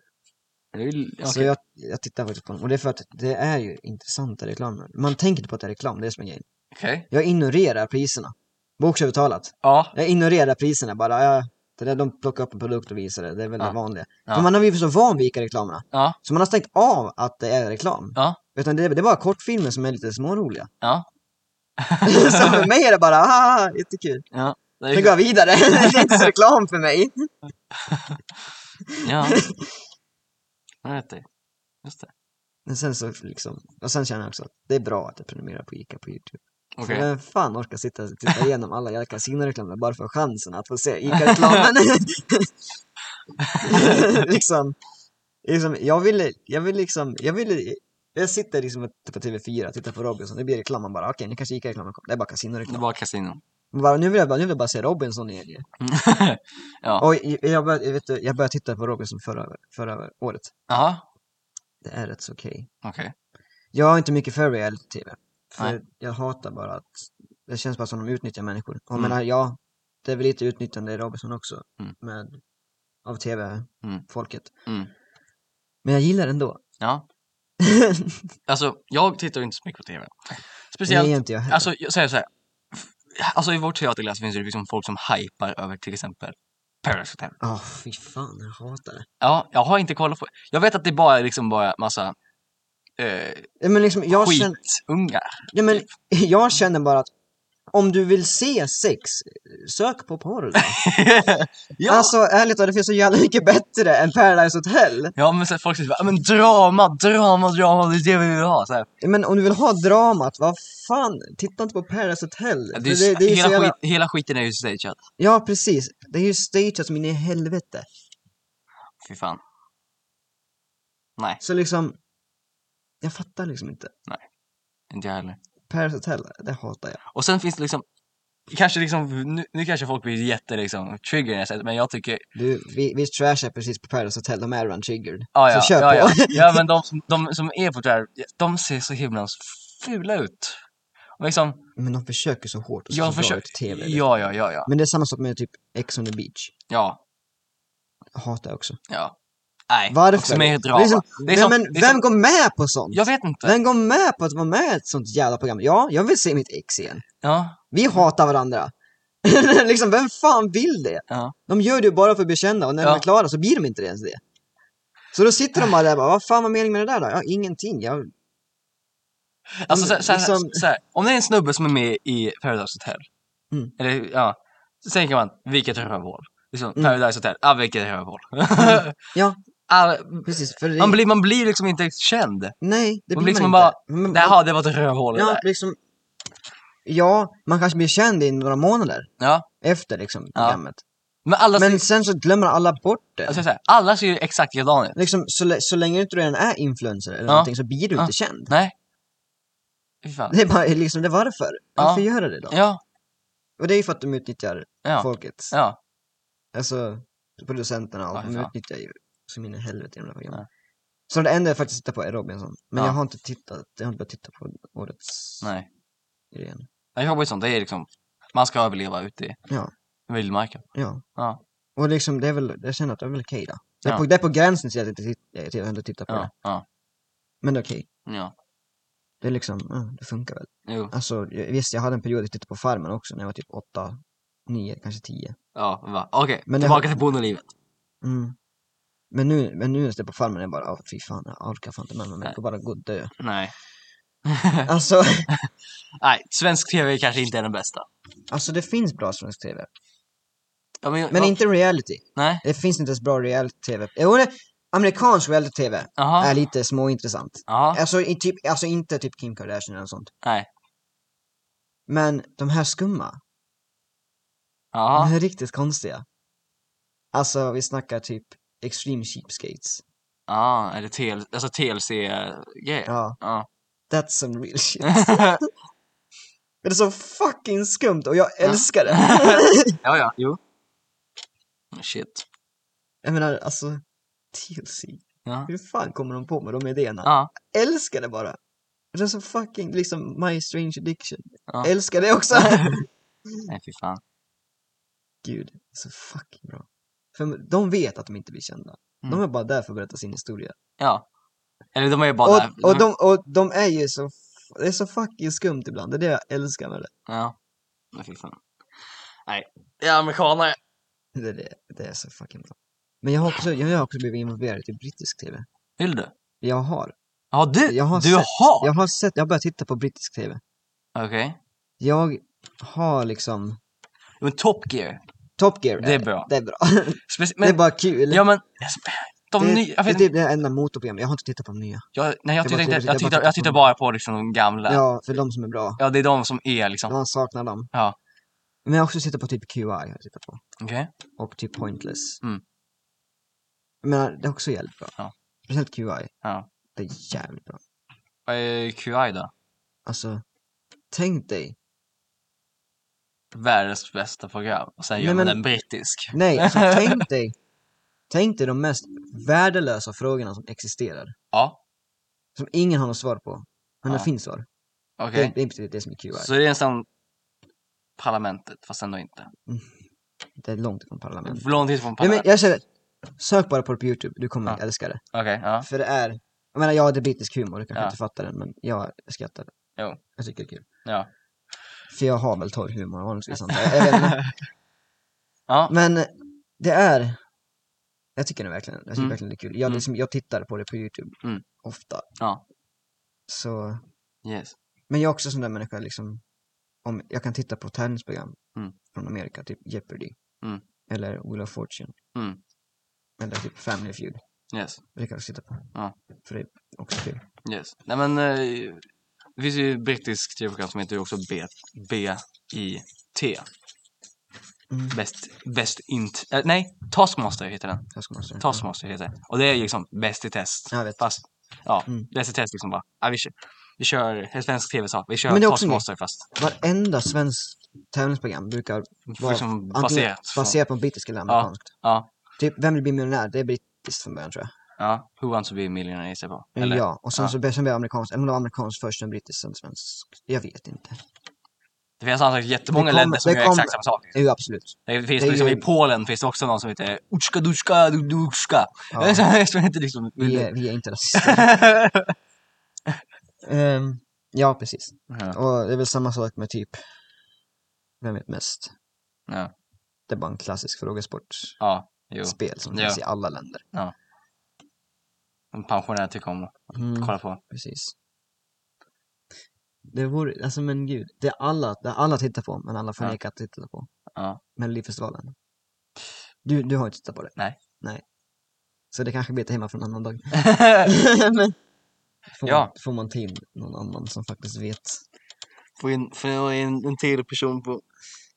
S2: Det är ju-
S1: Så
S2: okej.
S1: jag, jag tittar faktiskt på dem. Och det är för att det är ju intressanta reklamer. Man tänker inte på att det är reklam, det är som en grej.
S2: Okej.
S1: Jag ignorerar priserna. Bokstavligt talat.
S2: Ja,
S1: Jag ignorerar priserna bara. Ja, det där, de plockar upp en produkt och visar det, det är väl
S2: Ja.
S1: det vanliga.
S2: Ja.
S1: För man har blivit så van vid Ica-reklamerna.
S2: ja,
S1: Så man har stängt av att det är reklam.
S2: Ja.
S1: Utan det, det är bara kortfilmer som är lite småroliga.
S2: ja.
S1: så för mig är det bara, ah, jättekul.
S2: Det
S1: Sen
S2: är,
S1: går jag vidare, det är inte så reklam för mig.
S2: ja. Jag vet det. Just det.
S1: Men sen så liksom, och sen känner jag också att det är bra att jag prenumererar på ICA på YouTube.
S2: Okej.
S1: För vem fan orkar sitta och titta igenom alla jävla kasinoreklamer bara för chansen att få se ICA-reklamen? liksom, liksom, jag ville, jag ville liksom, jag ville, jag sitter liksom på TV4 och tittar på Robinson, det blir reklam, man bara okej nu kanske ICA-reklamen kommer, det är bara
S2: Det är
S1: kasinoreklam.
S2: bara kasino.
S1: Man Bara, nu, vill jag bara, nu vill jag bara se Robinson igen ju.
S2: Mm. ja.
S1: Och jag- jag började, jag vet, du, jag började titta på Robinson förra, förra året,
S2: Jaha,
S1: det är rätt så okej.
S2: okej.
S1: Jag är inte mycket för reality-tv. För
S2: Nej.
S1: jag hatar bara att det känns bara som de utnyttjar människor. Och jag
S2: Mm.
S1: menar, ja, det är väl lite utnyttjande i Robinson också.
S2: Mm.
S1: Med, av tv-folket.
S2: Mm.
S1: Men jag gillar det ändå.
S2: Ja. Alltså, jag tittar inte så mycket på TV.
S1: Det är
S2: Speciellt,
S1: inte jag heller.
S2: alltså jag säger så här. F- Alltså i vårt teaterklass finns det liksom folk som hypar över till exempel Paradise Hotel.
S1: Ja, fy fan, jag hatar det.
S2: Ja, jag har inte kollat på Jag vet att det bara är liksom bara massa eh,
S1: Ja, men liksom, jag, känner,
S2: skitungar.
S1: ja, men, jag känner bara att om du vill se sex, sök på porr.
S2: ja.
S1: Alltså ärligt talat, det finns så jävla mycket bättre än Paradise Hotel.
S2: ja, men så här, folk säger bara, men drama, drama, drama, det är det vi vill ha. Så här.
S1: Men om du vill ha dramat, vad fan, titta inte på Paradise Hotel.
S2: Det är,
S1: För
S2: ju-
S1: ju
S2: hela,
S1: så jävla-
S2: skit, hela skiten är ju stageat.
S1: Ja, precis. Det är ju stageat som in i helvete.
S2: Fy fan. Nej,
S1: Så liksom, jag fattar liksom inte.
S2: inte jag heller.
S1: Paris Hotel, det hatar jag.
S2: Och sen finns det liksom Kanske liksom, nu, nu kanske folk blir jätte liksom trigger när jag säger det, men jag tycker,
S1: Du, vi, vi trashar precis på Paris Hotel, de är run triggered.
S2: ja ja,
S1: Så kör
S2: ja,
S1: på.
S2: ja. ja men de, som- de som är på det här, de ser så himla fula ut. Och liksom,
S1: Men de försöker så hårt och så,
S2: jag
S1: så bra ut
S2: försöker,
S1: i TV. liksom.
S2: ja ja ja ja,
S1: Men det är samma sak med typ Ex on the beach.
S2: ja,
S1: Jag hatar jag också.
S2: ja. Nej,
S1: Varför?
S2: också mer drama.
S1: Det är som,
S2: Det är som-
S1: nej,
S2: det
S1: men
S2: är
S1: vem
S2: som-
S1: går med på sånt?
S2: Jag vet inte.
S1: Vem går med på att vara med i ett sånt jävla program? Ja, jag vill se mitt ex igen.
S2: Ja,
S1: Vi hatar varandra. liksom, vem fan vill det?
S2: ja.
S1: De gör det ju bara för att bekänna och när de
S2: Ja.
S1: är klara så blir de inte ens det. Så då sitter de bara där och bara, vad fan var meningen med det där då? Ja, ingenting. Jag...
S2: Alltså så,
S1: Mm,
S2: så,
S1: liksom-
S2: så, så här, om det är en snubbe som är med i Paradise Hotel,
S1: Mm.
S2: eller ja, så tänker man, vilket rövhål. Liksom,
S1: Mm.
S2: Paradise Hotel, ah vilket rövhål.
S1: Ja,
S2: Ah,
S1: precis. För det...
S2: man, blir, man blir liksom inte känd.
S1: Nej, det
S2: Man
S1: blir
S2: liksom
S1: man
S2: bara,
S1: inte. Men-
S2: Jaha, det var ett rövhål det
S1: Mm. ja,
S2: där.
S1: liksom... ja, man kanske blir känd i några månader
S2: Ja.
S1: efter liksom,
S2: Ja.
S1: programmet.
S2: Men alla,
S1: Men sen så glömmer alla bort det.
S2: alltså, så här, alla ser ju exakt likadana ut.
S1: Liksom, så, lä- så länge du inte redan är influencer eller
S2: Ja.
S1: någonting så blir du
S2: Ja.
S1: inte känd.
S2: Nej. Fy fan.
S1: Det är bara liksom, det är varför?
S2: Ja.
S1: Varför gör du det då?
S2: Ja,
S1: Och det är ju för att de utnyttjar
S2: ja,
S1: folket.
S2: ja.
S1: Alltså producenterna och
S2: Ja, fy
S1: de
S2: fan.
S1: utnyttjar ju som in i helvete i de där programmen.
S2: Ja.
S1: Så det enda jag faktiskt tittar på är Robinson. Men
S2: Ja.
S1: jag har inte tittat, jag har inte börjat titta på årets
S2: Nej.
S1: gren.
S2: Jag jobbar ju sånt, det är liksom, man ska överleva ute i
S1: Ja.
S2: vildmarken.
S1: Ja.
S2: Ja.
S1: Och liksom det är väl, jag känner att det är väl okej då. Det är,
S2: Ja.
S1: på, det är på gränsen till att jag inte tit- jag till att jag inte tittar på
S2: Ja,
S1: det.
S2: ja,
S1: Men det är okej.
S2: ja.
S1: Det är liksom, ja, det funkar väl.
S2: Jo,
S1: Alltså jag- visst, jag hade en period jag tittade på Farmen också när jag var typ åtta, nio, kanske tio.
S2: ja, va. Okej,
S1: Men det-
S2: tillbaka till bondelivet.
S1: Mm. Men nu, men nu när jag tittar på Farmen är jag bara, oh, fy fan, jag orkar fan inte med mig. Jag får bara gå och dö.
S2: Nej.
S1: Alltså,
S2: Nej, svensk tv kanske inte är den bästa.
S1: alltså det finns bra svensk TV.
S2: Ja, men,
S1: Men
S2: ja,
S1: inte reality.
S2: Nej,
S1: Det finns inte ens bra reality-tv. Jo, det- amerikansk reality-tv är
S2: jaha.
S1: lite småintressant.
S2: Ja,
S1: Alltså, i typ, alltså inte typ Kim Kardashian eller något sånt.
S2: nej.
S1: Men de här skumma, de
S2: Ja,
S1: här riktigt konstiga. Alltså vi snackar typ Extreme Cheapskates.
S2: ja, eller TL, alltså TLC-grejer.
S1: Ja,
S2: Ja.
S1: that's some real shit. Det är så fucking skumt och jag älskar det.
S2: ja, ja, jo. Oh, Shit.
S1: jag menar alltså, TLC.
S2: Ja.
S1: Hur fan kommer de på med de idéerna?
S2: Ja,
S1: älskar det bara. Det är så fucking liksom My Strange Addiction.
S2: Ja.
S1: Älskar det också.
S2: nej fy fan.
S1: Gud, det är så fucking bra. För de vet att de inte blir kända.
S2: Mm.
S1: De är bara där för att berätta sin historia.
S2: Ja. Eller de är ju bara där.
S1: och, och, de, och de är ju så, f- det är så fucking skumt ibland. Det är det jag älskar med det.
S2: Ja. Nej fy fan. Nej. Jag är amerikanare.
S1: Det är, det, det är så fucking bra. Men jag har också, jag har också blivit involverad i typ brittisk TV.
S2: Vill du?
S1: Jag har.
S2: Ja du!
S1: Jag har
S2: du
S1: sett-
S2: har!
S1: Jag har sett, jag har börjat titta på brittisk TV.
S2: Okej.
S1: Jag har liksom,
S2: Men Top Gear,
S1: Top Gear
S2: Det är bra.
S1: Det är bra.
S2: Speci-
S1: det
S2: men,
S1: är bara kul.
S2: Ja men, alltså, de
S1: det,
S2: nya, jag
S1: det är
S2: vet
S1: typ det enda motorprogrammet, jag har inte tittat på de nya.
S2: jag, nej, jag
S1: det
S2: tittar,
S1: var
S2: inte,
S1: tråkigt,
S2: jag,
S1: jag bara
S2: tittar,
S1: tittar på
S2: jag tittar
S1: dem.
S2: bara på liksom de gamla. Ja.
S1: Ja, för de som är bra.
S2: det är de som är liksom,
S1: Man saknar dem.
S2: Ja.
S1: Men jag har också tittat på typ QI, har jag tittat på.
S2: okej?
S1: Och typ Pointless.
S2: Mm.
S1: Men det är också jävligt bra.
S2: Ja.
S1: Speciellt QI.
S2: Ja.
S1: Det är jävligt bra.
S2: Vad är QI då?
S1: Alltså, tänk dig.
S2: Världens bästa program. Och sen
S1: Nej,
S2: gör man
S1: men-
S2: den brittisk.
S1: Nej, alltså tänk dig. Tänk dig de mest värdelösa frågorna som existerar.
S2: Ja,
S1: Som ingen har något svar på. Men
S2: Ja.
S1: det finns svar. Det
S2: okej.
S1: är- Det är inte det som är QI.
S2: Så det är nästan parlamentet, fast ändå inte.
S1: Det är långt ifrån parlament.
S2: Lång tid från
S1: Nej, men
S2: parlamentet.
S1: jag känner, sök bara på det på Youtube, du kommer
S2: Ja.
S1: älska det.
S2: Okej, ja.
S1: För det är, jag menar jag har det är brittisk humor, du kanske
S2: Ja.
S1: inte fattar den men jag skrattar.
S2: Jo.
S1: Jag tycker det är kul.
S2: Ja.
S1: För jag har väl torr humor vanligtvis antar jag. jag vet inte.
S2: Ja,
S1: Men det är, jag tycker det verkligen, jag tycker
S2: Mm.
S1: verkligen det är kul. Jag,
S2: Mm.
S1: liksom, jag tittar på det på Youtube
S2: Mm.
S1: ofta.
S2: Ja.
S1: Så,
S2: yes.
S1: men jag är också sån där människa liksom, om jag kan titta på tävlingsprogram
S2: Mm.
S1: från Amerika, typ Jeopardy.
S2: Mm.
S1: Eller Wheel of Fortune.
S2: Mm.
S1: Eller typ Family Feud.
S2: Yes,
S1: Det kan jag också titta på.
S2: Ja.
S1: För det är också kul.
S2: yes. Nej men, eh, det finns ju ett brittiskt tv-program som heter också B- BIT.
S1: Mm.
S2: Best, best int... eh, nej, Taskmaster heter den.
S1: Taskmaster.
S2: Taskmaster heter den. Och det är liksom bäst i test.
S1: Ja, jag vet.
S2: Fast, ja,
S1: Mm.
S2: bäst i test liksom bara. Ja, vi kör, vi kör eh, svensk tv sa vi kör
S1: Men det är också
S2: Taskmaster fast.
S1: Varenda svensk tävlingsprogram brukar Vad-
S2: Liksom
S1: antingen
S2: baserat. från-
S1: baserat på brittiskt eller
S2: Ja.
S1: amerikanskt.
S2: Ja,
S1: Typ Vem vill bli miljonär? Det är brittiskt från början tror jag.
S2: ja. Who wants to be a millionaire gissar jag på. Eller?
S1: Ja, och sen
S2: Ja.
S1: så blev sen blev det amerikanskt, eller om det var amerikanskt först, sen brittiskt, sen svenskt. Jag vet inte.
S2: Det finns annars jättemånga
S1: Det kommer-
S2: länder som
S1: det
S2: gör
S1: kommer-
S2: exakt samma sak.
S1: Jo, absolut.
S2: Det finns
S1: Det är
S2: liksom
S1: ju-
S2: i Polen finns det också någon som heter Utska Dutska Dutska.
S1: Ja.
S2: Jag tror inte liksom...
S1: Vi, är, vi är inte rasister. Ehm, ja, precis.
S2: ja.
S1: Och det är väl samma sak med typ Vem vet mest?
S2: Ja.
S1: Det är bara en klassisk frågesportspel
S2: ja, jo.
S1: som
S2: Ja.
S1: finns i alla länder.
S2: En pensionär tycker om att
S1: Mm.
S2: kolla på.
S1: Precis. Det vore, alltså men gud, det är alla, det är alla tittar på, men alla
S2: Ja.
S1: förnekar att titta på.
S2: Ja.
S1: Melodifestivalen. Du, du har inte tittat på det?
S2: Nej.
S1: Nej. Så det kanske blir ett hemma från en annan dag. men, får,
S2: Ja.
S1: man, får man till någon annan som faktiskt vet.
S2: Få in, få in en till person på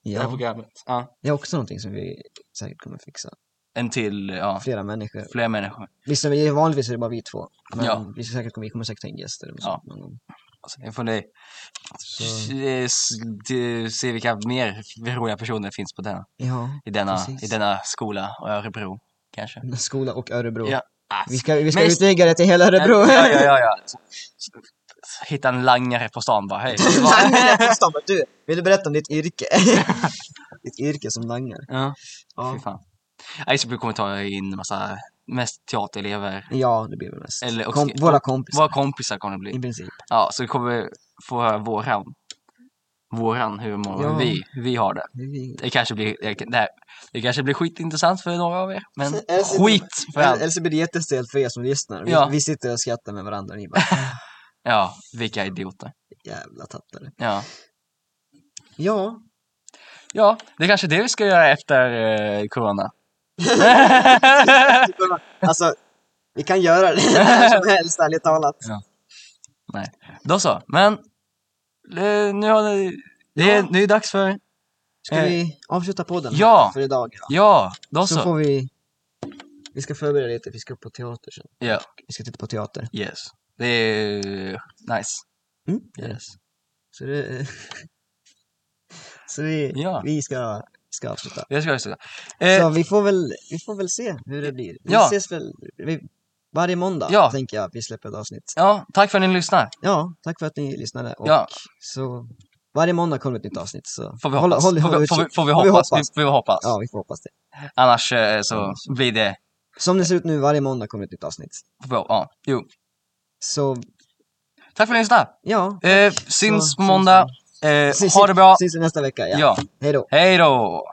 S2: det här
S1: Ja.
S2: programmet. Ja.
S1: Det är också någonting som vi säkert kommer fixa.
S2: En till, ja.
S1: Flera människor.
S2: Fler människor.
S1: Visst, är vi- vanligtvis är det bara vi två. Men
S2: Ja.
S1: vi, ska säkert, vi kommer säkert ta in gäster. eller
S2: Ja.
S1: sånt någon gång.
S2: Alltså, jag får det.
S1: Så-
S2: det- det- Se vilka mer roliga personer det finns på denna,
S1: Ja.
S2: i, denna,
S1: Precis.
S2: i denna skola och Örebro. Kanske.
S1: Skola och Örebro.
S2: Ja. Ah,
S1: Vi ska, vi ska
S2: Men-
S1: utvidga det till hela Örebro.
S2: Ja, ja, ja, ja. Hitta en langare på stan bara, hej.
S1: Langare på stan bara, du, vill du berätta om ditt yrke? ditt yrke som langare.
S2: ja,
S1: Ja.
S2: fy fan. Nej, så vi kommer ta in massa, mest teaterelever.
S1: ja, det blir väl mest.
S2: Eller också-
S1: Kom, våra kompisar,
S2: Våra kompisar kommer det bli.
S1: i princip.
S2: Ja, så vi kommer få höra våran, våran humor,
S1: Ja.
S2: hur, vi, hur vi har det. Det kanske, blir, det, här, det kanske blir skitintressant för några av er, men
S1: Eller så-
S2: skit för
S1: Eller
S2: allt.
S1: eller så blir det jättestelt för er som lyssnar. Vi,
S2: Ja.
S1: vi sitter och skrattar med varandra och ni bara,
S2: Ja, vilka idioter.
S1: jävla tattare.
S2: Ja.
S1: Ja,
S2: ja, det är kanske det vi ska göra efter eh, corona.
S1: alltså, vi kan göra det när som helst, ärligt talat.
S2: Då så, men eh, nu har ni, det är,
S1: Ja.
S2: nu är det dags för,
S1: Ska
S2: Eh,
S1: vi avsluta podden här
S2: ja.
S1: för idag? Ja.
S2: ja, då så.
S1: Så får vi, vi ska förbereda lite, vi ska på teater sen.
S2: Ja.
S1: Vi ska titta på teater.
S2: Yes, det är eh, nice.
S1: Mm.
S2: Yes.
S1: Så det... Så vi,
S2: Ja.
S1: vi ska, ska avsluta.
S2: Det ska jag säga. Eh,
S1: Så vi får, väl, vi får väl se hur det blir. Vi
S2: Ja.
S1: ses väl vi, varje måndag,
S2: Ja.
S1: tänker jag, att vi släpper ett avsnitt.
S2: ja, tack för att ni lyssnar.
S1: Ja, tack för att ni lyssnade. Och
S2: Ja.
S1: så, varje måndag kommer ett nytt avsnitt. Så
S2: Får vi
S1: håll-
S2: hoppas.
S1: håll-
S2: Får
S1: håll
S2: vi- får vi-
S1: utkik.
S2: får vi hoppas. Vi- får vi hoppas.
S1: Ja, vi får hoppas det.
S2: Annars eh, så
S1: Annars.
S2: blir det,
S1: Som det ser ut nu, varje måndag kommer ett nytt avsnitt.
S2: får vi hop- ja, jo.
S1: Så,
S2: Tack för att ni lyssnade.
S1: ja.
S2: Eh, syns
S1: Så,
S2: på måndag.
S1: syns
S2: Eh,
S1: Syns-
S2: ha det bra.
S1: Syns vi nästa vecka, ja.
S2: Ja,
S1: Hej då.
S2: hej då.